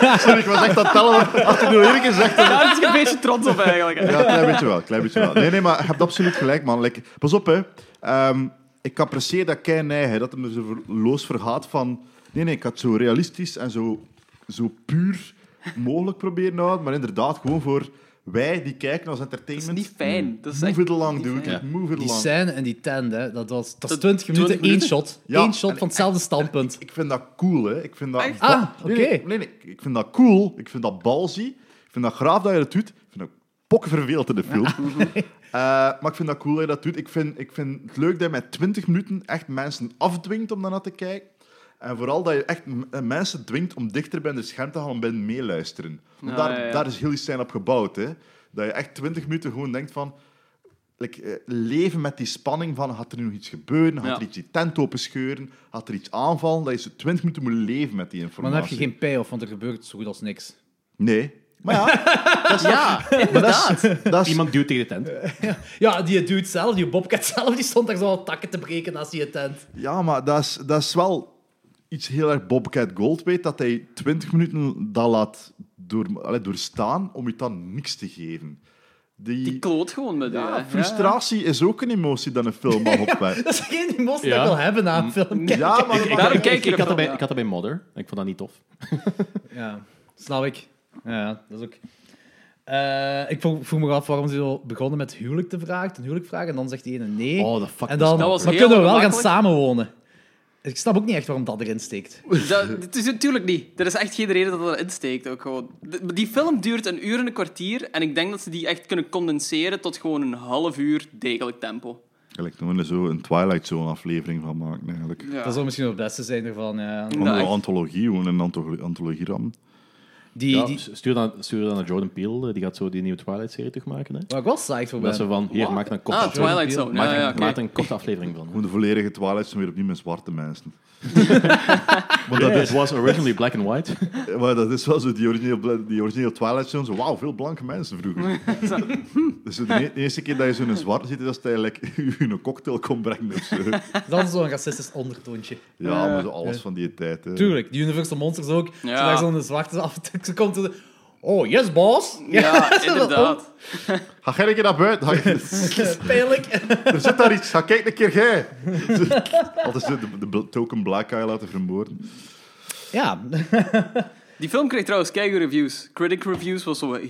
Eh, Sorry, ik was echt aan het tellen. Als ik nu eerlijk gezegd heb. Daar is ik een beetje trots op, eigenlijk. Ja, klein beetje wel, klein beetje wel. Nee, nee, maar je hebt absoluut gelijk, man. Like, pas op, hè. Ehm, ik apprecieer dat kei neigen, dat hem er zo ver- loos vergaat van... Nee, nee, ik had het zo realistisch en zo, zo puur mogelijk proberen te houden. Maar inderdaad, gewoon voor wij die kijken als Dat is entertainment. niet fijn. Dat is echt Move it along, niet dude. fijn. Move it Die along. scène en die tent, hè, dat was, dat is Dat- 20 minuten, 20 één minuten? shot. Ja, Eén shot en- van hetzelfde standpunt. Ik vind dat cool, hè. Ik vind dat... Echt? Ah, Nee, oké. nee, nee, nee. ik vind dat cool. Ik vind dat balzie. Ik vind dat graaf dat je dat doet. Ik vind dat pokken verveeld in de film. Eh, maar ik vind dat cool dat je dat doet. Ik vind, ik vind het leuk dat je met 20 minuten echt mensen afdwingt om daarna te kijken. En vooral dat je echt m- eh, mensen dwingt om dichter bij de scherm te gaan en bij hen meeluisteren. Want Ja, daar, ja, ja. daar is heel die scène op gebouwd. Hè? Dat je echt 20 minuten gewoon denkt van... like, eh, leven met die spanning van, had er nu nog iets gebeuren? Had Ja. er iets die tent openscheuren? Had er iets aanvallen? Dat je zo 20 minuten moet leven met die informatie. Maar dan heb je geen payoff, want er gebeurt zo goed als niks. Nee. Maar ja, Ja, maar dat is... Dat is Iemand duwt tegen de tent. Ja, die dude zelf, die Bobcat zelf, die stond daar zo al takken te breken naast die tent. Ja, maar dat is, dat is wel iets heel erg Bobcat Gold weet, dat hij 20 minuten dat laat door, allee, doorstaan om je dan niks te geven. Die, die kloot gewoon met ja, u, hè. frustratie is ook een emotie dan een film mag opwekken. Dat is geen emotie Ja. dat ik wil hebben na een film. Kijk. Ja, maar Ja. Daarom Ik- kijk ik, je ik, had dat ervan, bij, ik had dat bij Mother. en Ik vond dat niet tof. Ja, snap ik. Ja, dat is ook... Eh, ik vroeg, vroeg me af waarom ze zo begonnen met huwelijk te vragen, een huwelijk vragen, en dan zegt die ene nee. Oh, dat fuck en dan, Dat was maar heel kunnen we wel gaan ongemakkelijk. samenwonen? Ik snap ook niet echt waarom dat erin steekt. Ja. Dat, het is natuurlijk niet. Er is echt geen reden dat dat erin steekt. Ook gewoon. De- die film duurt een uur en een kwartier. En ik denk dat ze die echt kunnen condenseren tot gewoon een half uur degelijk tempo. Eigenlijk nog een, zo een Twilight Zone aflevering van maken, eigenlijk. Ja. Dat zou misschien wel het beste zijn ervan. Ja. Om Ja, een echt. antologie, gewoon een antologie, antologie rammen. Die, Ja, die, s- stuur, dan, stuur dan naar Jordan Peele, eh, die gaat zo die nieuwe Twilight-serie terugmaken. Hè? waar ik wel psyched voor Dat ze ben. van, hier, maak er een korte Ah, aflevering. Twilight Zone. Maak Ja, er- ja, oké. maak er een korte aflevering van. hè. Gewoon de volledige Twilight zijn weer opnieuw met zwarte mensen. Want dat, It is, was originally black and white. maar dat is wel zo, die origineel, die origineel Twilight Zone, zo, wauw, veel blanke mensen vroeger. dus de, e- de eerste keer dat je zo'n zwart ziet, is dat hij like, u een cocktail komt brengen of zo. Dat is zo'n racistisch ondertoontje. Ja, maar zo alles van die tijd. hè. Tuurlijk, die Universal Monsters ook. Ja. Zodra ze dan de zwarte af ze komt ze... Oh, yes, boss! Ja, inderdaad. Ga jij een keer naar buiten. Ga- Pijnlijk. er zit daar iets. Ga kijk een keer jij. Altijd zo de, de token black guy laten vermoorden. Ja, Die film kreeg trouwens kijkreviews. Critic reviews was zo 90%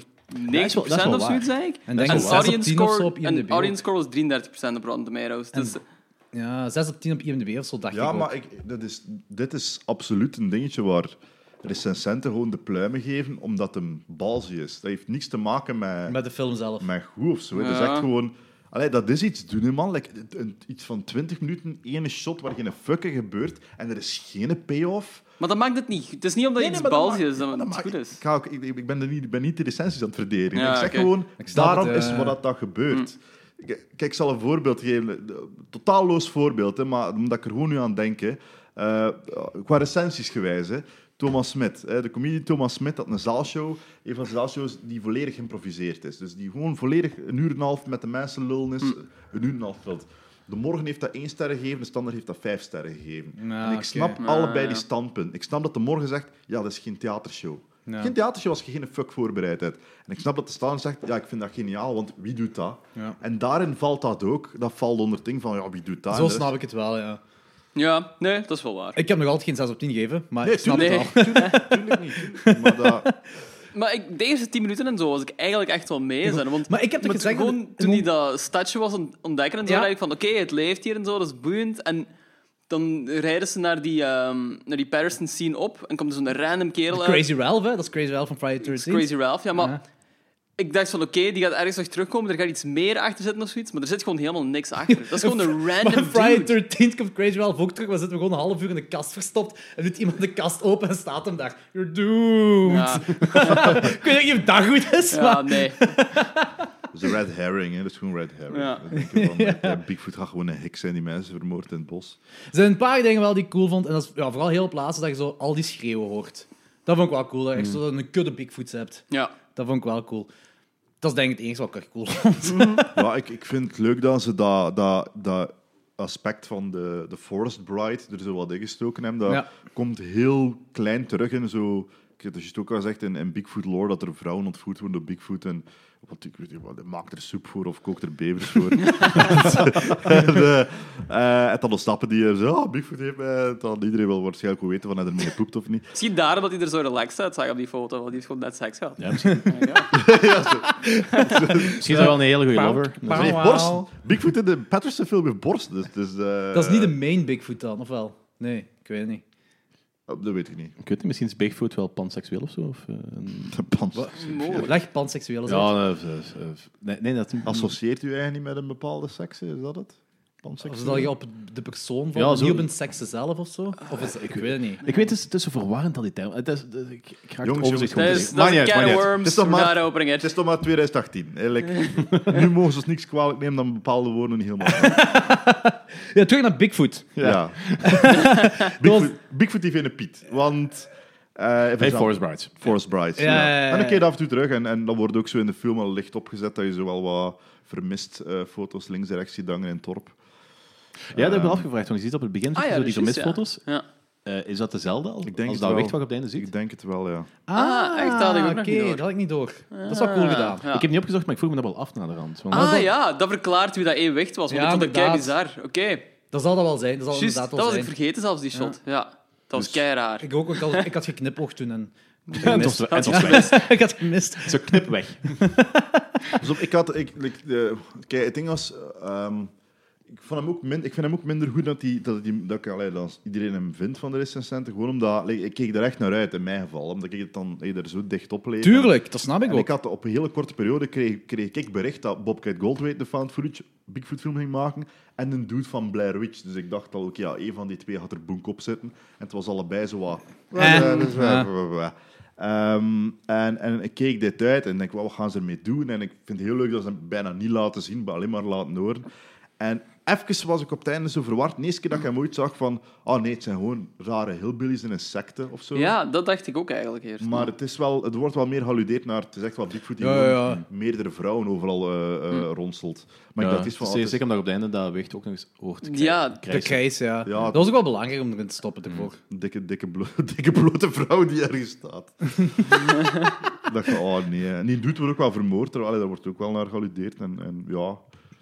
is wel- dat is wel of zoiets, zei ik. En denk dat een is 6 audience op 10 of score, zo op en IMDb. audience score was 33% op Rotten Tomatoes. Dus Ja, 6 op 10 op IMDb of zo, dacht ik Ja, ook. maar ik, dat is, dit is absoluut een dingetje waar recensenten gewoon de pluimen geven omdat hem balzie is. Dat heeft niks te maken met, met... Met de film zelf. goed of zo. Het is Ja. echt gewoon... Allee, dat is iets doen, hè, man. Like, een- een- iets van 20 minuten, ene shot waar geen fucking gebeurt en er is geen payoff. maar dat maakt het niet. Het is niet omdat iets maar dat balsjes maakt- is dat dat het maakt- goed is. Ik, ga ook- ik, ik ben, er niet, ik ben niet de recensies aan het verdedigen. Ja, ik zeg oké. mm. gewoon, snap daarom het, is eh. wat dat dan gebeurt. Ik- Kijk, ik zal een voorbeeld geven. Totaalloos voorbeeld, hè, maar omdat ik er gewoon nu aan denk. hè. Eh, qua recensies gewijs, hè. Thomas Smit. Hè, de comedian Thomas Smit had een zaalshow. Een van zijn zaalshows die volledig geïmproviseerd is. Dus die gewoon volledig een uur en een half met de mensen lullen is. Mm. Een uur en een half vult. De Morgen heeft dat één sterren gegeven, de Standaard heeft dat vijf sterren gegeven. Ja, en ik oké. snap Ja, allebei ja. die standpunten. Ik snap dat de Morgen zegt, ja, dat is geen theatershow. Ja. Geen theatershow als je geen fuck voorbereid hebt. En ik snap dat de Standaard zegt, ja, ik vind dat geniaal, want wie doet dat? Ja. En daarin valt dat ook. Dat valt onder het ding van, ja, wie doet dat? Zo En snap ik het wel, ja. Ja, nee, dat is wel waar. Ik heb nog altijd geen 6 op 10 gegeven, maar Nee, ik snap tuurlijk. het wel. Tuurlijk niet. Maar dat, Maar ik, de eerste 10 minuten en zo was ik eigenlijk echt wel mee. Zijn, want Maar ik heb toch want gezegd gewoon dat het- toen hij dat stadje was aan het ontdekken en zo, Ja. dacht ik van oké, het leeft hier en zo, dat is boeiend. En dan rijden ze naar die, ehm, naar die Patterson scene op en komt er zo'n random kerel uit. Crazy Ralph, hè? Dat is Crazy Ralph van Friday the 13th. Crazy Ralph, ja, maar Ja. ik dacht van oké, die gaat ergens nog terugkomen, er gaat iets meer achter zitten of zoiets, maar er zit gewoon helemaal niks achter. Dat is gewoon een Maar random Friday dude. the 13th komt Crazy Ralph ook terug. We zitten gewoon een half uur in de kast verstopt. En doet iemand de kast open en staat hem daar. You're doomed. Ja, Ik weet niet of dat goed is, ja, maar... nee. dat is een red herring, hè. Dat is gewoon red herring. Ja. Dan denk je van, ja, Bigfoot gaat gewoon een hik zijn die mensen vermoordt in het bos. Er zijn een paar dingen wel die ik cool vond. En dat is ja, vooral heel op het laatste dat je zo al die schreeuwen hoort. Dat vond ik wel cool. Dat je echt zo een kudde Bigfoots hebt. Ja. Dat vond ik wel cool. Dat is denk ik het enige wat ik echt cool vond. Ja, ik, ik vind het leuk dat ze dat, dat, dat aspect van de, de Forest Bride er zo wat in gestoken hebben. Dat Ja. komt heel klein terug in zo... Ik heb het juist ook al gezegd in, in Bigfoot lore dat er vrouwen ontvoerd worden door Bigfoot. En, want ik weet niet, wat, maakt er soep voor of kookt er bevers voor. en, eh, eh, en dan ontsnappen die er zo. "Ah, Bigfoot heeft mij... Dan iedereen wil waarschijnlijk wel weten van hij ermee gepoept of niet. Misschien daarom dat hij er zo relaxed uitzag op die foto, want die heeft gewoon net seks gehad. Ja, misschien, Ja. misschien is dat wel een hele goede lover. Ze heeft borst. Bigfoot in de Patterson film heeft borst. Dus, dus, eh, Dat is niet de main Bigfoot dan, of wel? Nee, ik weet het niet. oh, Dat weet ik niet. Ik weet niet, misschien is Bigfoot wel panseksueel of zo. Of, eh, een- Pans. Mogelijk. Leg panseksueel uit. ja, eh, eh, eh, nee, nee, dat Associeert u eigenlijk niet met een bepaalde seks? Is dat het? Of Panseks? is dat je op de persoon van, Ja, ja, zo- niet op een seksen zelf of zo? Of is, ik weet het niet. Ik weet, het is, het is zo verwarrend al die term. Het is, het is- ik, ik raak Jongens, het overzicht jongens, Dus Dat gewoon is, tegen. Maakt dat is niet uit, een can maakt of niet uit. Het worms, is toch we maar- daar opening Het is toch maar 2018. Eigenlijk, nu mogen ze ons niks kwalijk nemen, dan bepaalde woorden niet helemaal. Ja, terug naar Bigfoot. Ja. Bigfoot, Bigfoot die vinden Piet. Want... eh even Hey, zo- Forest Brides. Forest Bride. Ja, Ja, ja, ja, ja. En dan keer je af en toe terug. En, en dat wordt ook zo in de film al licht opgezet, dat je zo wel wat vermist eh, foto's links en rechts ziet hangen in het dorp. Ja, dat heb ik me afgevraagd, want je ziet op het begin Ehm. Ah ja, zo dat die is juist, ja. vermisfoto's. Ja. Eh, is dat dezelfde al? Ik denk als het dat wel. weet wat je op het einde ziet? Ik denk het wel, ja. Ah, echt, dat had ik ook oké, nog niet door. Ah. dat had ik niet door. Dat is wel cool gedaan. Ja. Ik heb niet opgezocht, maar ik vroeg me dat wel af naar de rand. Want Ah dat- ja, dat verklaart wie dat evenwicht was. Want Ja, ik vond dat kei inderdaad. bizar. Oké, Dat zal dat wel zijn. Dat zal juist. inderdaad Dat wel was ik zijn. vergeten zelfs, die shot. Ja. Dat was kei raar. Ik ook, want ik had, ik had geknipoogd toen en... en tot, en tot weg. ik had gemist. Zo knip weg. Dus op- ik had... Ik, ik, eh, kijk, het ding was... ehm, ik, vond hem ook min, ik vind hem ook minder goed dat, die, dat, die, dat, ik, allee, dat iedereen hem vindt van de recensenten. Gewoon omdat... like, ik keek er echt naar uit, in mijn geval. Omdat ik het dan hey, er zo dicht op leef. Tuurlijk, dat snap ik En ook. ik had op een hele korte periode kreeg, kreeg ik bericht dat Bobcat Goldthwait de found footage Bigfoot film ging maken en een dude van Blair Witch. Dus ik dacht al, oké, ja, één van die twee had er boek op zitten. En het was allebei zo wat... Eh, Eh, dus, eh, ja. eh, eh, eh. Ehm, en, en ik keek dit uit en denk, wat gaan ze ermee doen? En ik vind het heel leuk dat ze hem bijna niet laten zien, maar alleen maar laten horen. En even was ik op het einde zo verward. De eerste keer dat ik hem ooit zag van, oh nee, het zijn gewoon rare hillbillies en insecten of zo. Ja, dat dacht ik ook eigenlijk eerst. Maar het, is wel, het wordt wel meer gealudeerd naar, het is echt wel Bigfoot die Ja, gewoon ja, Hm. ja. meerdere vrouwen overal eh, eh, ronselt. Maar Maar ik dacht iets van, dus oh, het is- Zeker omdat Dus je op het einde dat weegt ook nog eens hoort. Ja, De krijs, ja. Ja. Dat was ook wel belangrijk om erin te stoppen ervoor. Een dikke, dikke, blo- dikke blote vrouw die ergens staat. Ik dacht van, oh nee. En die doet wordt ook wel vermoord, terwijl allee, daar wordt ook wel naar gealudeerd. En, en ja,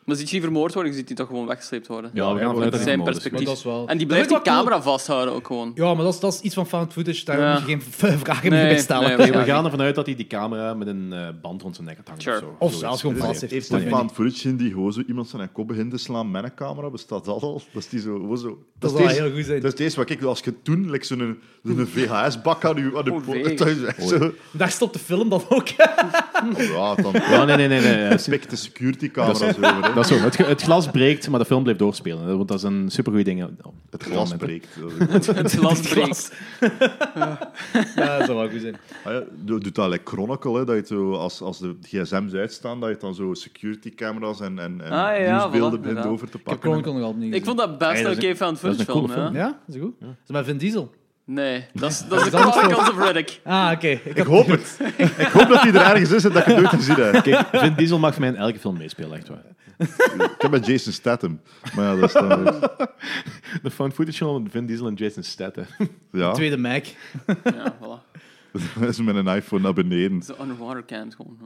maar ziet hij vermoord worden, je ziet hij toch gewoon weggesleept worden. Ja, we gaan ervan uit dat dat is hij zijn vermoord is. perspectief. Maar dat is wel- En die Dat blijft is die wel cool. camera vasthouden ook gewoon. Ja, maar dat is, dat is iets van found footage, daar Ja. moet je geen v- vragen Nee, meer bij stellen. nee, Nee, we Ja, gaan ervan uit dat hij die camera met een eh, band rond zijn nek had hangen Sure. of zo. Of Zoiets. Dus- zelfs gewoon vast heeft. Eerst een maand footage in die gozer iemand zijn kop begint te slaan met een camera, bestaat dat al? Dat is die zo... gozer- Dat is zou deze- heel goed zijn. Dat is deze wat ik als je toen like zo'n zo'n VHS-bak aan je aan de Oh, poort nee. thuis echt zo. Daar stopt de film dan ook. Ja, dan Ja, nee, nee, nee. nee. eh, pik de security-camera zo. over, hè. Dat is zo. Het, ge- het glas breekt, maar de film blijft doorspelen. hè, Want dat is een supergoeie ding. hè. Het glas breekt. Dat is- Het glas breekt. Ja, dat zou wel goed zijn. Ah ja, doe- doet dat like Chronicle, hè, dat je zo, als, als de gsm's uitstaan, dat je dan zo security camera's en, en, en Ah, ja, nieuwsbeelden voilà, begint inderdaad. over te Ik heb pakken. Chronicle nog altijd niet Ik gezien. vond dat best Hey, dat een is oké fan dat is footage een coole film. hè? film. Ja, dat is goed. Dat is met Vin Diesel. Nee, dat is, dat is de Chronicles of Riddick. Ah, oké. Ik Ik had- hoop het. Ik hoop dat die er ergens is en dat ik het nooit gezien heb. Kijk, Vin Diesel mag voor mij in elke film meespelen, echt waar. Ik heb met Jason Statham. Maar ja, dat is dan weer- De found footage film van Vin Diesel en Jason Statham. Ja, Tweede Mac. Ja, voilà. dat is met een iPhone naar beneden. Zo underwater cams gewoon.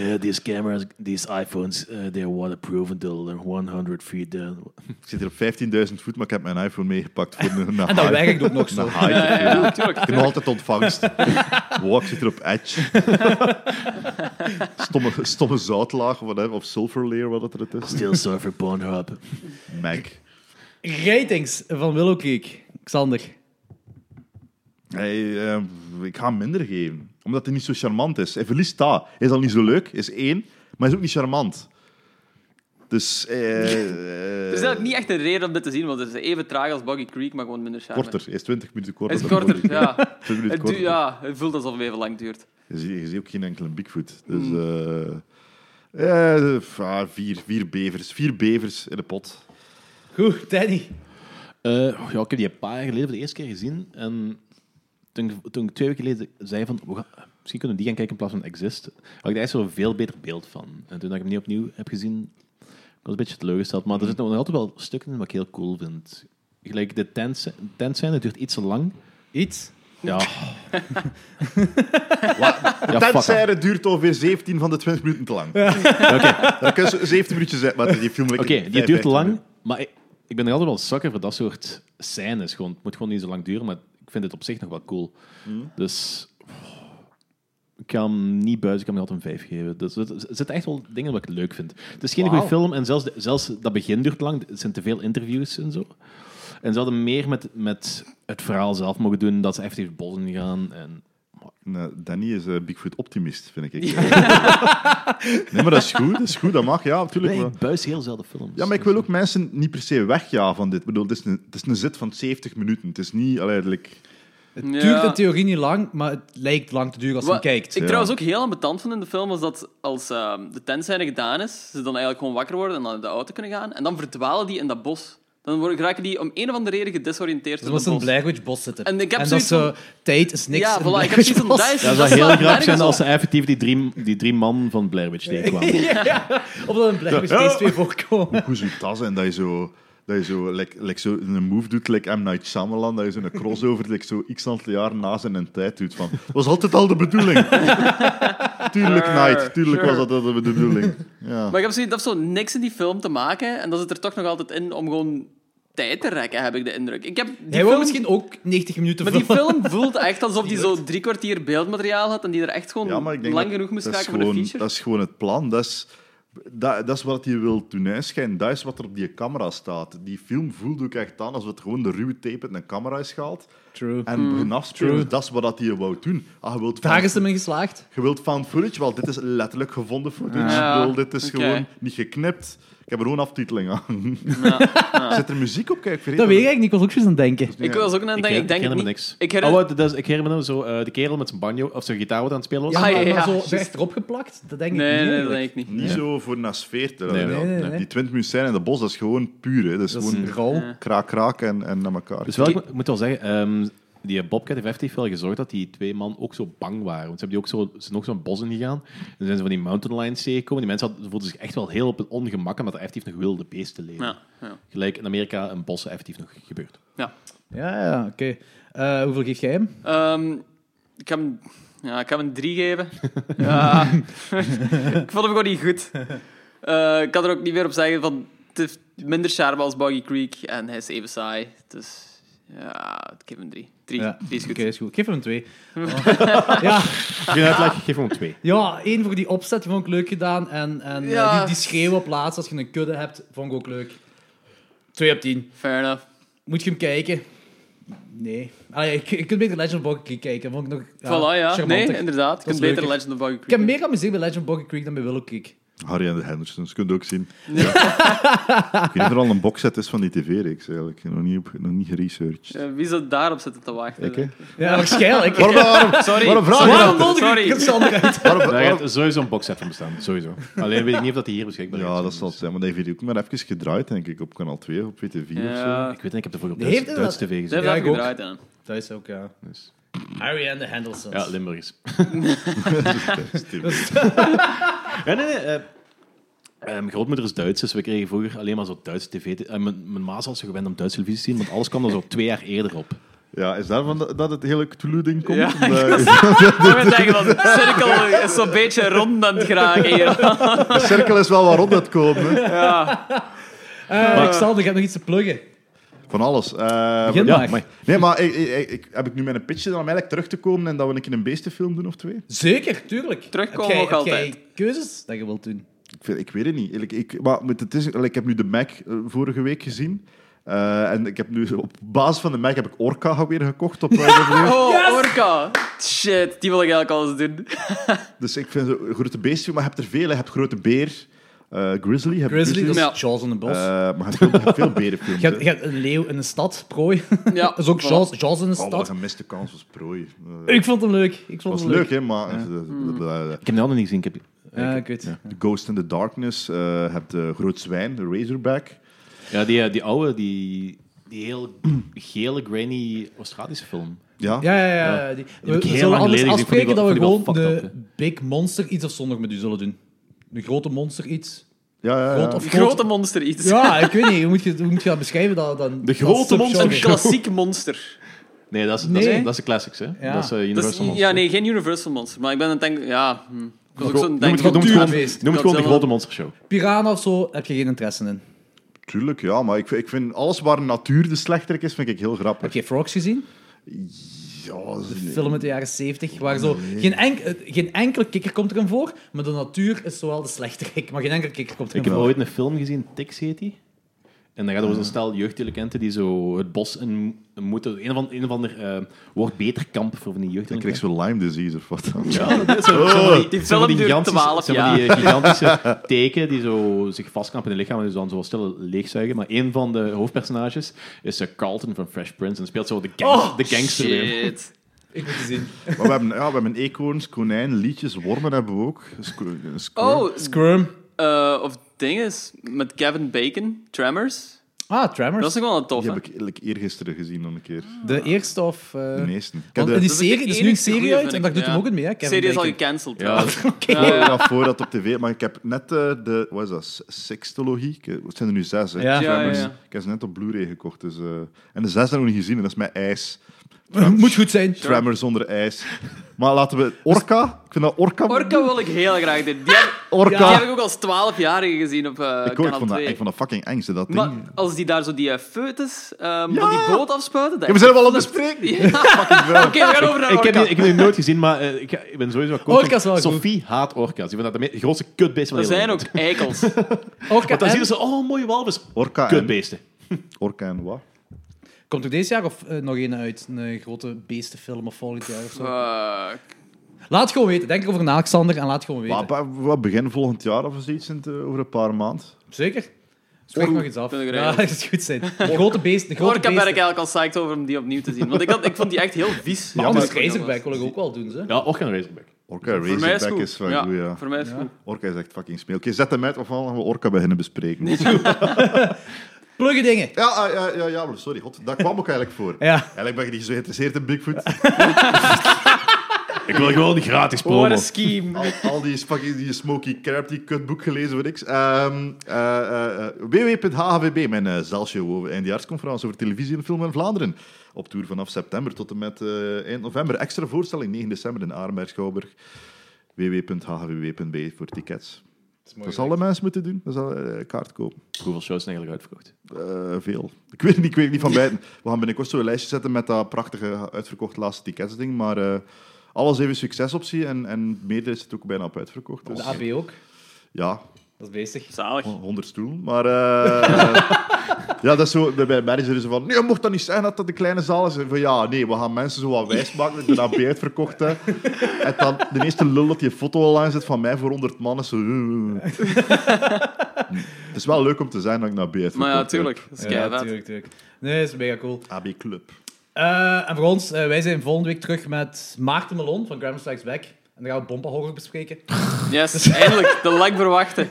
ja. these Eh, cameras, these iPhones, they're waterproof until they're 100 feet down. Ik zit hier op 15.000 voet, maar ik heb mijn iPhone meegepakt voor een een En dat high- werkt ook nog zo. een high. Ja, ja, ja, tuurlijk. Ik heb nog altijd ontvangst. Wow, ik zit er op edge. Stomme, stomme zoutlaag of, whatever, of silver layer, wat het er is. Still surfer Pornhub. Mac. Ratings van Willow Creek. Xander. Hij, eh, ik ga hem minder geven. Omdat hij niet zo charmant is. Hij verliest dat. Hij is al niet zo leuk, is één. Maar hij is ook niet charmant. Dus... eh, eh, Er is eigenlijk niet echt een reden om dit te zien, want het is even traag als Buggy Creek, maar gewoon minder charme. Korter. Hij is 20 minuten korter. Het is dan korter, Bobby. ja. 20 minuten Het, du- korter. ja. het voelt alsof het even lang duurt. Je, ziet, je ziet ook geen enkele Bigfoot. Dus... eh, eh, ah, vier, vier bevers. Vier bevers in de pot. Goed, Danny. Eh, ja, ik heb die een paar jaar geleden voor de eerste keer gezien. En toen, toen ik twee weken geleden zei van... We gaan, misschien kunnen we die gaan kijken in plaats van Exist. Had ik daar echt zo'n veel beter beeld van. En toen dat ik hem niet opnieuw heb gezien... Ik was een beetje teleurgesteld. Maar er zitten nog altijd wel stukken in wat ik heel cool vind. Gelijk de tent, tent zijn, het duurt iets te lang. Iets. Ja. De ja, fuck off. tentseire duurt ongeveer 17 van de 20 minuten te lang. Dan kun je zo 17 minuutjes zetten, maar die film... Oké, die duurt te lang, maar ik, ik ben er altijd wel zakker voor dat soort scènes. Gewoon, het moet gewoon niet zo lang duren, maar ik vind het op zich nog wel cool. Hmm. Dus ik kan hem niet buiten, ik kan hem altijd een 5 geven. Dus het- er zitten echt wel dingen wat ik leuk vind. Het is geen goede film en zelfs, de- zelfs dat begin duurt lang. Het zijn te veel interviews en zo. En ze hadden meer met, met het verhaal zelf mogen doen, dat ze echt even bossen gaan. En, Nee, Danny is eh, Bigfoot optimist, vind ik. nee, maar dat is goed, dat is goed, dat mag, ja, natuurlijk. nee, maar- ik buis heel zelden films. Ja, maar ik wil ook mensen niet per se wegjagen van dit. Ik bedoel, het is een, het is een zit van 70 minuten. Het is niet uiteindelijk... Het Ja. duurt in theorie niet lang, maar het lijkt lang te duren als je Wat hem kijkt. ik ja. trouwens ook heel ambetant vond in de film, was dat als ehm, de tentzijde gedaan is, ze dan eigenlijk gewoon wakker worden en dan in de auto kunnen gaan. En dan verdwalen die in dat bos. Dan worden, raken die om een of andere reden gedisoriënteerd in dat Zoals ze in bos. Blair Witch Bos zitten. En ik heb dat zoiets zo... Tijd is niks ja, in voilà, Blair ik heb Witch zoiets van Bos. dat is- Dat zou slaat heel grappig nergens zijn op. als ze effectief die drie, die drie man van Blair Witch tegenkwamen. Of dat een Blair Witch steeds twee voorkomen. Hoe zo'n tas en dat je zo... Dat je zo, like, like zo een move doet, like M. Night Shyamalan, dat je zo'n crossover like zo x aantal jaar na zijn tijd doet. Van, was altijd al de bedoeling. tuurlijk, Sure, Night. Tuurlijk sure. was dat al de bedoeling. Ja. Maar ik heb zoiets, dat heeft zo niks in die film te maken. En dat zit er toch nog altijd in om gewoon tijd te rekken, heb ik de indruk. Ik heb die Hij wil film... misschien ook 90 minuten Maar die vullen. film voelt echt alsof die zo drie kwartier beeldmateriaal had en die er echt gewoon Ja, maar ik denk lang dat- genoeg moest dat is raken voor de gewoon- feature. Dat is gewoon het plan. Dat is, dat, dat is wat je wilt doen uitschijnen. Dat is wat er op die camera staat. Die film voelde ook echt aan alsof het gewoon de ruwe tape uit een camera is gehaald. True. En Mm. beginnen afspelen. Dus dat is wat dat die wou doen. Ah, je wilt Daar found- is hem in geslaagd. je wilt found footage? Wel, dit is letterlijk gevonden footage. Ja. Ik bedoel, dit is Oké. gewoon niet geknipt. Ik heb er gewoon aftiteling aan. Zit er muziek op? Kijk, ik vergeet Dat weet ik eigenlijk niet. Ik was ook zo aan het denken. Ik was ook aan het denken, ik denk herinner het me niet. niks. Ik herinner- oh, wat, dat is, ik herinner me zo eh de kerel met zijn banjo of zijn gitaar wat aan het spelen was. Ja, Ah, ja, maar, maar ja, zo juist. werd erop geplakt. Dat denk ik Nee, niet. nee, dat eigenlijk. denk ik niet. Niet zo voor naar sfeer te Nee, laten. nee, nee, nee. Die twintig zijn in de bos, dat is gewoon puur. Hè. Dat is Dat gewoon is rauw. kraak, kraak en, en naar elkaar. Dus wel, ik mo- moet wel zeggen, ehm, die Bobcat heeft effectief wel gezorgd dat die twee man ook zo bang waren. Want ze, hebben die ook zo, ze zijn ook zo'n bos ingegaan. En dan zijn ze van die mountain lions tegengekomen. Die mensen hadden, voelden zich echt wel heel op het ongemak, omdat er effectief nog wilde beesten leven. Ja, ja. Gelijk in Amerika een bossen effectief nog gebeurt. Ja, ja, oké. Eh, hoeveel geef jij hem? Ehm, ik heb hem, ja, ik heb hem drie geven. ja. ik vond hem gewoon niet goed. Eh, ik kan er ook niet meer op zeggen van het heeft minder charme als Boggy Creek en hij is even saai. Dus ja, ik geef hem drie. Drie, Ja, drie is Oké, goed. is goed. Ik geef hem een twee. Oh. ja, Geen uitleg, geef hem twee. ja, één voor die opzet, die vond ik leuk gedaan. En, en eh, Ja. die, die schreeuwen op laatst, als je een kudde hebt, vond ik ook leuk. Twee op tien. Fair enough. Moet je hem kijken? Nee. Ah, ja, ik, ik kunt beter Legend of Boggy Creek kijken. Vond ik nog ja, voilà, ja. charmanter. Nee, inderdaad. Je Dat kunt is beter leuker. Legend of Boggy Creek. Ik heb meer geamuseerd bij Legend of Boggy Creek dan bij Willow Creek. Harry en de Hendersons, kun je ook zien. Ja. ik weet niet of er al een boxset is van die tv-reeks eigenlijk. Nog niet, op, nog niet geresearched. Eh, wie zou daarop zitten te wachten? Ik, hè? Ja, waarschijnlijk. Waarom, waarom, Sorry. waarom vraag je Waarom dat? nodig ik het Sorry. Sander uit? Waarom- Daar waarom- gaat sowieso een boxset van bestaan. Sowieso. Alleen weet ik niet of dat die hier beschikbaar is. Ja, dat zal het zijn. Maar die heeft ook maar even gedraaid, denk ik, op kanaal 2 op WTV of zo. Ja, Ik weet niet, ik heb ervoor op Die Duits, heeft Duits dat- tv ze gezien. hebben Ja, dat ik ook. gedraaid aan. Dat is ook, ja. Dus- Harry and the Hendersons. Ja, Limburgers. Stupid. Ja, nee, nee. eh, ehm, grootmoeder is Duits, dus we kregen vroeger alleen maar zo Duitse tv. te- eh, mijn, mijn ma was zo gewend om Duitse televisie te zien, want alles kwam er zo twee jaar eerder op. Ja, is daarvan dat, dat het hele Cthulhu-ding komt? Ja, Omdat- Ik moet zeggen, want de cirkel is zo'n beetje rond aan het geraken hier. de cirkel is wel waar rond het komen. hè. Eh, Sander, je hebt nog iets te pluggen. Van alles. Eh, Begin Ja, maar. maar nee, maar ik, ik, ik- heb ik nu mijn pitch dan om eigenlijk terug te komen en dat we een keer een beestenfilm doen of twee? Zeker, tuurlijk. Terugkomen Heb jij- ook heb jij altijd. keuzes dat je wilt doen. Ik, vind- ik weet het niet. Eerlijk, ik, maar met- het is, ik heb nu de Mac eh, vorige week gezien. Eh, en ik heb nu, op basis van de Mac heb ik Orca weer gekocht. Op, eh, Oh, Orca. Shit, die wil ik eigenlijk alles doen. dus ik vind zo- grote beestje, maar je hebt er veel. hè. Je hebt grote beer, eh, grizzly. je hebt Grizzly, dat grizzlies. is Ja. Charles in de Bos. Eh, maar je hebt veel, je hebt veel berenfilms. je, hebt, hè. je hebt een leeuw in een stad, prooi. Ja, dat is ook voilà. Charles, Charles in de Oh, wat een stad. gemiste kans was prooi. Eh, Ik vond hem leuk. Ik vond was hem leuk, leuk. Mm. hè, maar... eh, ik heb die andere niet gezien. Ik heb... Ja, ik weet het. The Ghost in the Darkness, eh hebt de Groot Zwijn, de Razorback. Ja, die, eh, die oude, die, die heel gele, grainy Australische film. Ja, Ja, ja, ja. die- heb ik We heel zullen lang anders geleden gezien. Ik vond die afspreken wel- dat we vond die wel gewoon fucked de up, Big Monster iets of zonder met u zullen doen. De grote monster iets. ja, ja, ja. Groot of Grote monster iets. Ja, ik weet niet. Hoe moet je, hoe moet je dat beschrijven? Dat, dan, De grote monster. Een klassiek monster. Nee, dat is, Dat Nee. is, dat is de classics, hè? Ja. Dat is eh, Dat Universal is- Monster. ja, nee, geen Universal monster. Maar ik ben aan het denken... Ja, hm. Ik was ook zo'n Noem het, denken. gewoon- noem het gewoon, Natuurbeest. noem het gewoon de Godzilla. grote monstershow. Piranha of zo, heb je geen interesse in. Tuurlijk, ja, maar ik, vind- ik vind alles waar natuur de slechterik is, vind ik heel grappig. Heb je Frogs gezien? Ja, dat is De een- film uit de jaren 70, waar zo geen, enk- eh, geen enkele kikker komt erin voor, maar de natuur is zowel de slechterik, maar geen enkele kikker komt Ik erin heb voor. ooit een film gezien, Tix heet die. En dan gaat over zo'n stel jeugddelinquenten die zo het bos in moeten. Een of ander, een of ander eh, wordt beter kamp voor van die Dan krijg jeugddelinquenten. je zo'n Lyme disease of wat dan. Ja. Ja, dat is zo- zo van Die zo van film duurt gigantische- 12 zo van die, eh, gigantische teken die zo zich vastklampen in het lichaam en dus dan zo stil leegzuigen. Maar een van de hoofdpersonages is eh, Carlton van Fresh Prince en speelt zo de, gang- Oh, de gangster weer. Shit. Ik moet die zien. Maar we hebben, ja, we hebben eekhoorns, konijn, liedjes, wormen hebben we ook. Sco- eh, score. Oh, Squirm. eh, of ding is, met Kevin Bacon, Tremors. Ah, Tremors. Dat is toch wel een tof, Die hè? heb ik eerlijk eergisteren gezien nog een keer. De eerste of... eh, De meesten. Ik heb want de, in die Dat is de serie, er is nu een enigste goeie, serie uit, vind en ik, daar doet ja. hem ook het mee, hè, De Kevin serie is al Bacon. gecanceld. Ja, trouwens. Oké. ik hoorde dat voor dat op tv, maar ik heb net eh, de, wat is dat, s- sextologie? Ik- eh, Het zijn er nu zes, hè? Ja. Ja, ja, ja. Ik heb ze net op Blu-ray gekocht. Dus, eh, en de zes heb ik nog niet gezien, en dat is mijn ijs. Moet goed zijn. Tremor zonder ijs. Maar laten we... Orca? Ik vind dat Orca... Orca wil ik heel graag doen. Die heb, Orca. die heb ik ook als 12-jarige gezien op eh ik, ook, ik kanaal vond dat, 2. ik vond dat fucking engste, dat ding. Maar als die daar zo die eh, foetus ehm, van die boot afspuiten... dat- Ja, we zijn wel aan het bespreken. Ja. Oké, we gaan over naar Ik Orca. heb, die, ik heb die nooit gezien, maar eh, ik, ik ben sowieso akkoord. Orca's wel goed. Sophie haat orka's. Die vindt dat de me- grootste kutbeest van Er de hele zijn ook wereld. eikels. Orca Want dan en- dus- zien ze, oh, mooie walvis. Orca en, Kutbeesten. Orca en wat? Komt er deze jaar of eh, nog een uit? Een grote beestenfilm of volgend jaar of zo? Fuck. Laat het gewoon weten. Denk erover na, Xander, en laat het gewoon weten. Maar, ba- wat, begin volgend jaar of zoiets, in het, eh, over een paar maanden. Zeker? Spreek nog iets af. ben ik Ja, eruit. dat is goed zijn. De grote beesten. De grote Orca ben ik beesten. eigenlijk al psyched over om die opnieuw te zien. Want ik, had, ik vond die echt heel vies. Maar Ja, anders maar- Razorback wil ik ook wel doen, ze. Ja, ook een Razorback. Orca Voor mij is Razorback het is, goed. wel ja, goed, ja. Voor mij is het goed. Orca is echt fucking speel. Oké, zet hem uit, of dan gaan we Orca beginnen bespreken. Pluggen dingen. Ja, ah, ja, ja, ja, maar sorry, god, daar kwam ook eigenlijk voor. Ja. Eigenlijk ben je niet zo geïnteresseerd in Bigfoot. Ik wil gewoon die gratis What promo. a scheme. Al, al die, fucking, die Smokey Crab, die kutboek gelezen, weet ik. Ehm eh, eh, eh, www.hvb, mijn eh zelfshow over eindejaarsconferentie over televisie en film in Vlaanderen. Op tour vanaf september tot en met eh, eind november. Extra voorstelling 9 december in Arenberg, Schouwburg. www.hvb.be voor tickets. Dat, zal de mensen moeten doen. Dat zal eh, kaart kopen. Hoeveel shows zijn eigenlijk uitverkocht? Eh, veel. Ik weet het niet, ik weet het niet van buiten. We gaan binnenkort zo'n lijstje zetten met dat prachtige uitverkocht laatste tickets ding. Maar eh, alles even succesoptie en, en meerdere is het ook bijna op uitverkocht. De Dus, AB ook. ja, Dat is bezig. Zalig. 100 stoelen. Maar eh, ja, dat is zo. Bij manager is zo van. Nee, je mocht dat niet zeggen dat dat de kleine zaal is. En van ja, nee, we gaan mensen zo wat wijs maken. Ik ben aan bij uitverkocht. Hè. En dan de eerste lul dat je foto online zit van mij voor 100 man is zo. eh, eh. Het is wel leuk om te zijn dat ik naar B uitverkocht Maar ja, heb. tuurlijk. Dat is Ja, keihard. tuurlijk, tuurlijk. Nee, dat is mega cool. AB Club. Eh, en voor ons, eh, wij zijn volgende week terug met Maarten Melon van Graham Strikes Back. En dan gaan we Bompa Horror bespreken. Yes, eindelijk. De lang verwachten.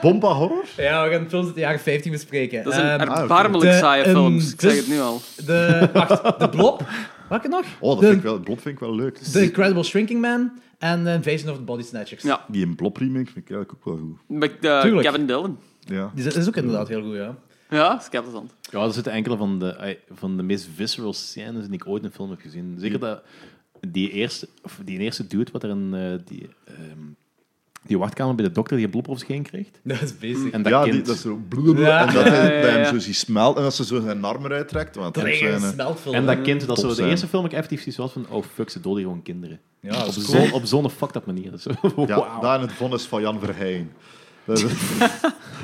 Bomba Horror? Ja, we gaan films uit de jaren 15 bespreken. Dat is een Ehm, oké. erbarmelijk De, saaie ehm, film. Ik zeg dus- het nu al. de, wacht, De Blob. Welke nog? Oh, dat de, vind ik wel, Blob vind ik wel leuk. The Incredible Shrinking Man en eh, Invasion of the Body Snatchers. Ja. Die in Blob remake vind ik eigenlijk ook wel goed. Met eh, Tuurlijk. Kevin Dillon. Ja. Die is- is ook inderdaad heel goed, ja. Ja, dat is kei plezant. Ja, er zitten enkele van de, eh, van de meest visceral scènes die ik ooit in een film heb gezien. Zeker dat die eerste, of die eerste dude wat er in eh, die, ehm, die wachtkamer bij de dokter die een blob over zich heen kreeg. Dat is bezig. En dat ja, kind. die, dat is zo bloed. Ja. En dat hij Ja, ja, dat hij ja. hem zo ziet smelten. En dat ze zo zijn arm eruit trekt. Want Dat dat is een zijn, eh, smeltfilm. en dat kind, dat Top zo de zijn. eerste film ik effectief zoiets was van, oh fuck, ze doden gewoon kinderen. Ja, dat op is zo'n op zo'n fucked up manier. Zo, ja, wauw. daar in het vonnis van Jan Verheyen. Dat is-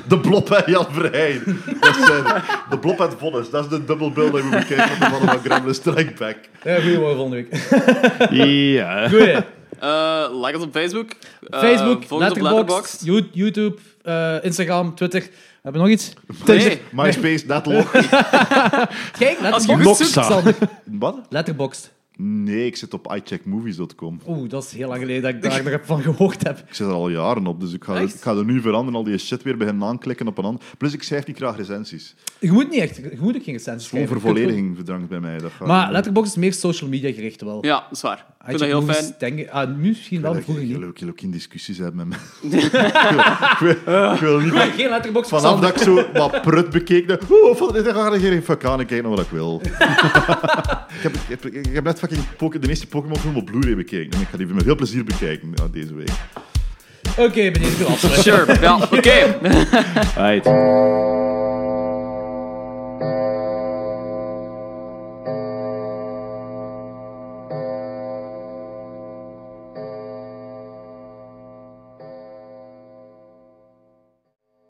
De blop en Jan Verheyen. Dat zijn de blop en het vonnis. Dat is de dubbelbeelding die we bekijken van de mannen van Gremlin Strike Back. Ja, goeie worden volgende week. Ja. Goeie. Eh, like ons op Facebook. Eh, Facebook, volg ons op Letterboxd, Letterboxd. You- YouTube, eh, Instagram, Twitter. Hebben we nog iets? Nee, MySpace, dat log. Kijk, als je Letterboxd. goed zoekt, Xander. Wat? Letterboxd. Nee, ik zit op iCheckMovies.com. Oeh, dat is heel lang geleden dat ik daar nog heb van gehoord heb. Ik zit er al jaren op, dus ik ga, Echt? ik ga er nu veranderen. Al die shit weer beginnen aanklikken op een ander. Plus, ik schrijf niet graag recensies. Je moet niet echt, je moet ook geen recensies Gewoon schrijven. vervollediging verdrangt bij mij. Dat gaat Maar niet. Letterboxd is meer social media gericht wel. ja, dat is waar. Ik vind Had dat heel je movies fijn. denken- ah, nu misschien wel, maar Ik wil vroeger ook- ik niet. wil ook- ik wil ook geen discussies hebben met mensen. ik, wil, ik wil- ik wil niet Geen Letterboxd voor vanaf Xander. dat ik zo wat prut bekeek. dat- Oeh, van dit ga ik geen fuck aan. Ik kijk naar wat ik wil. ik, heb, ik, heb, ik heb net fucking Poké- de eerste Pokémon film op Blu-ray bekeken. En ik ga die met veel plezier bekijken ja, deze week. Oké, ben je het afsluiten? Sure. Ja, oké. Right.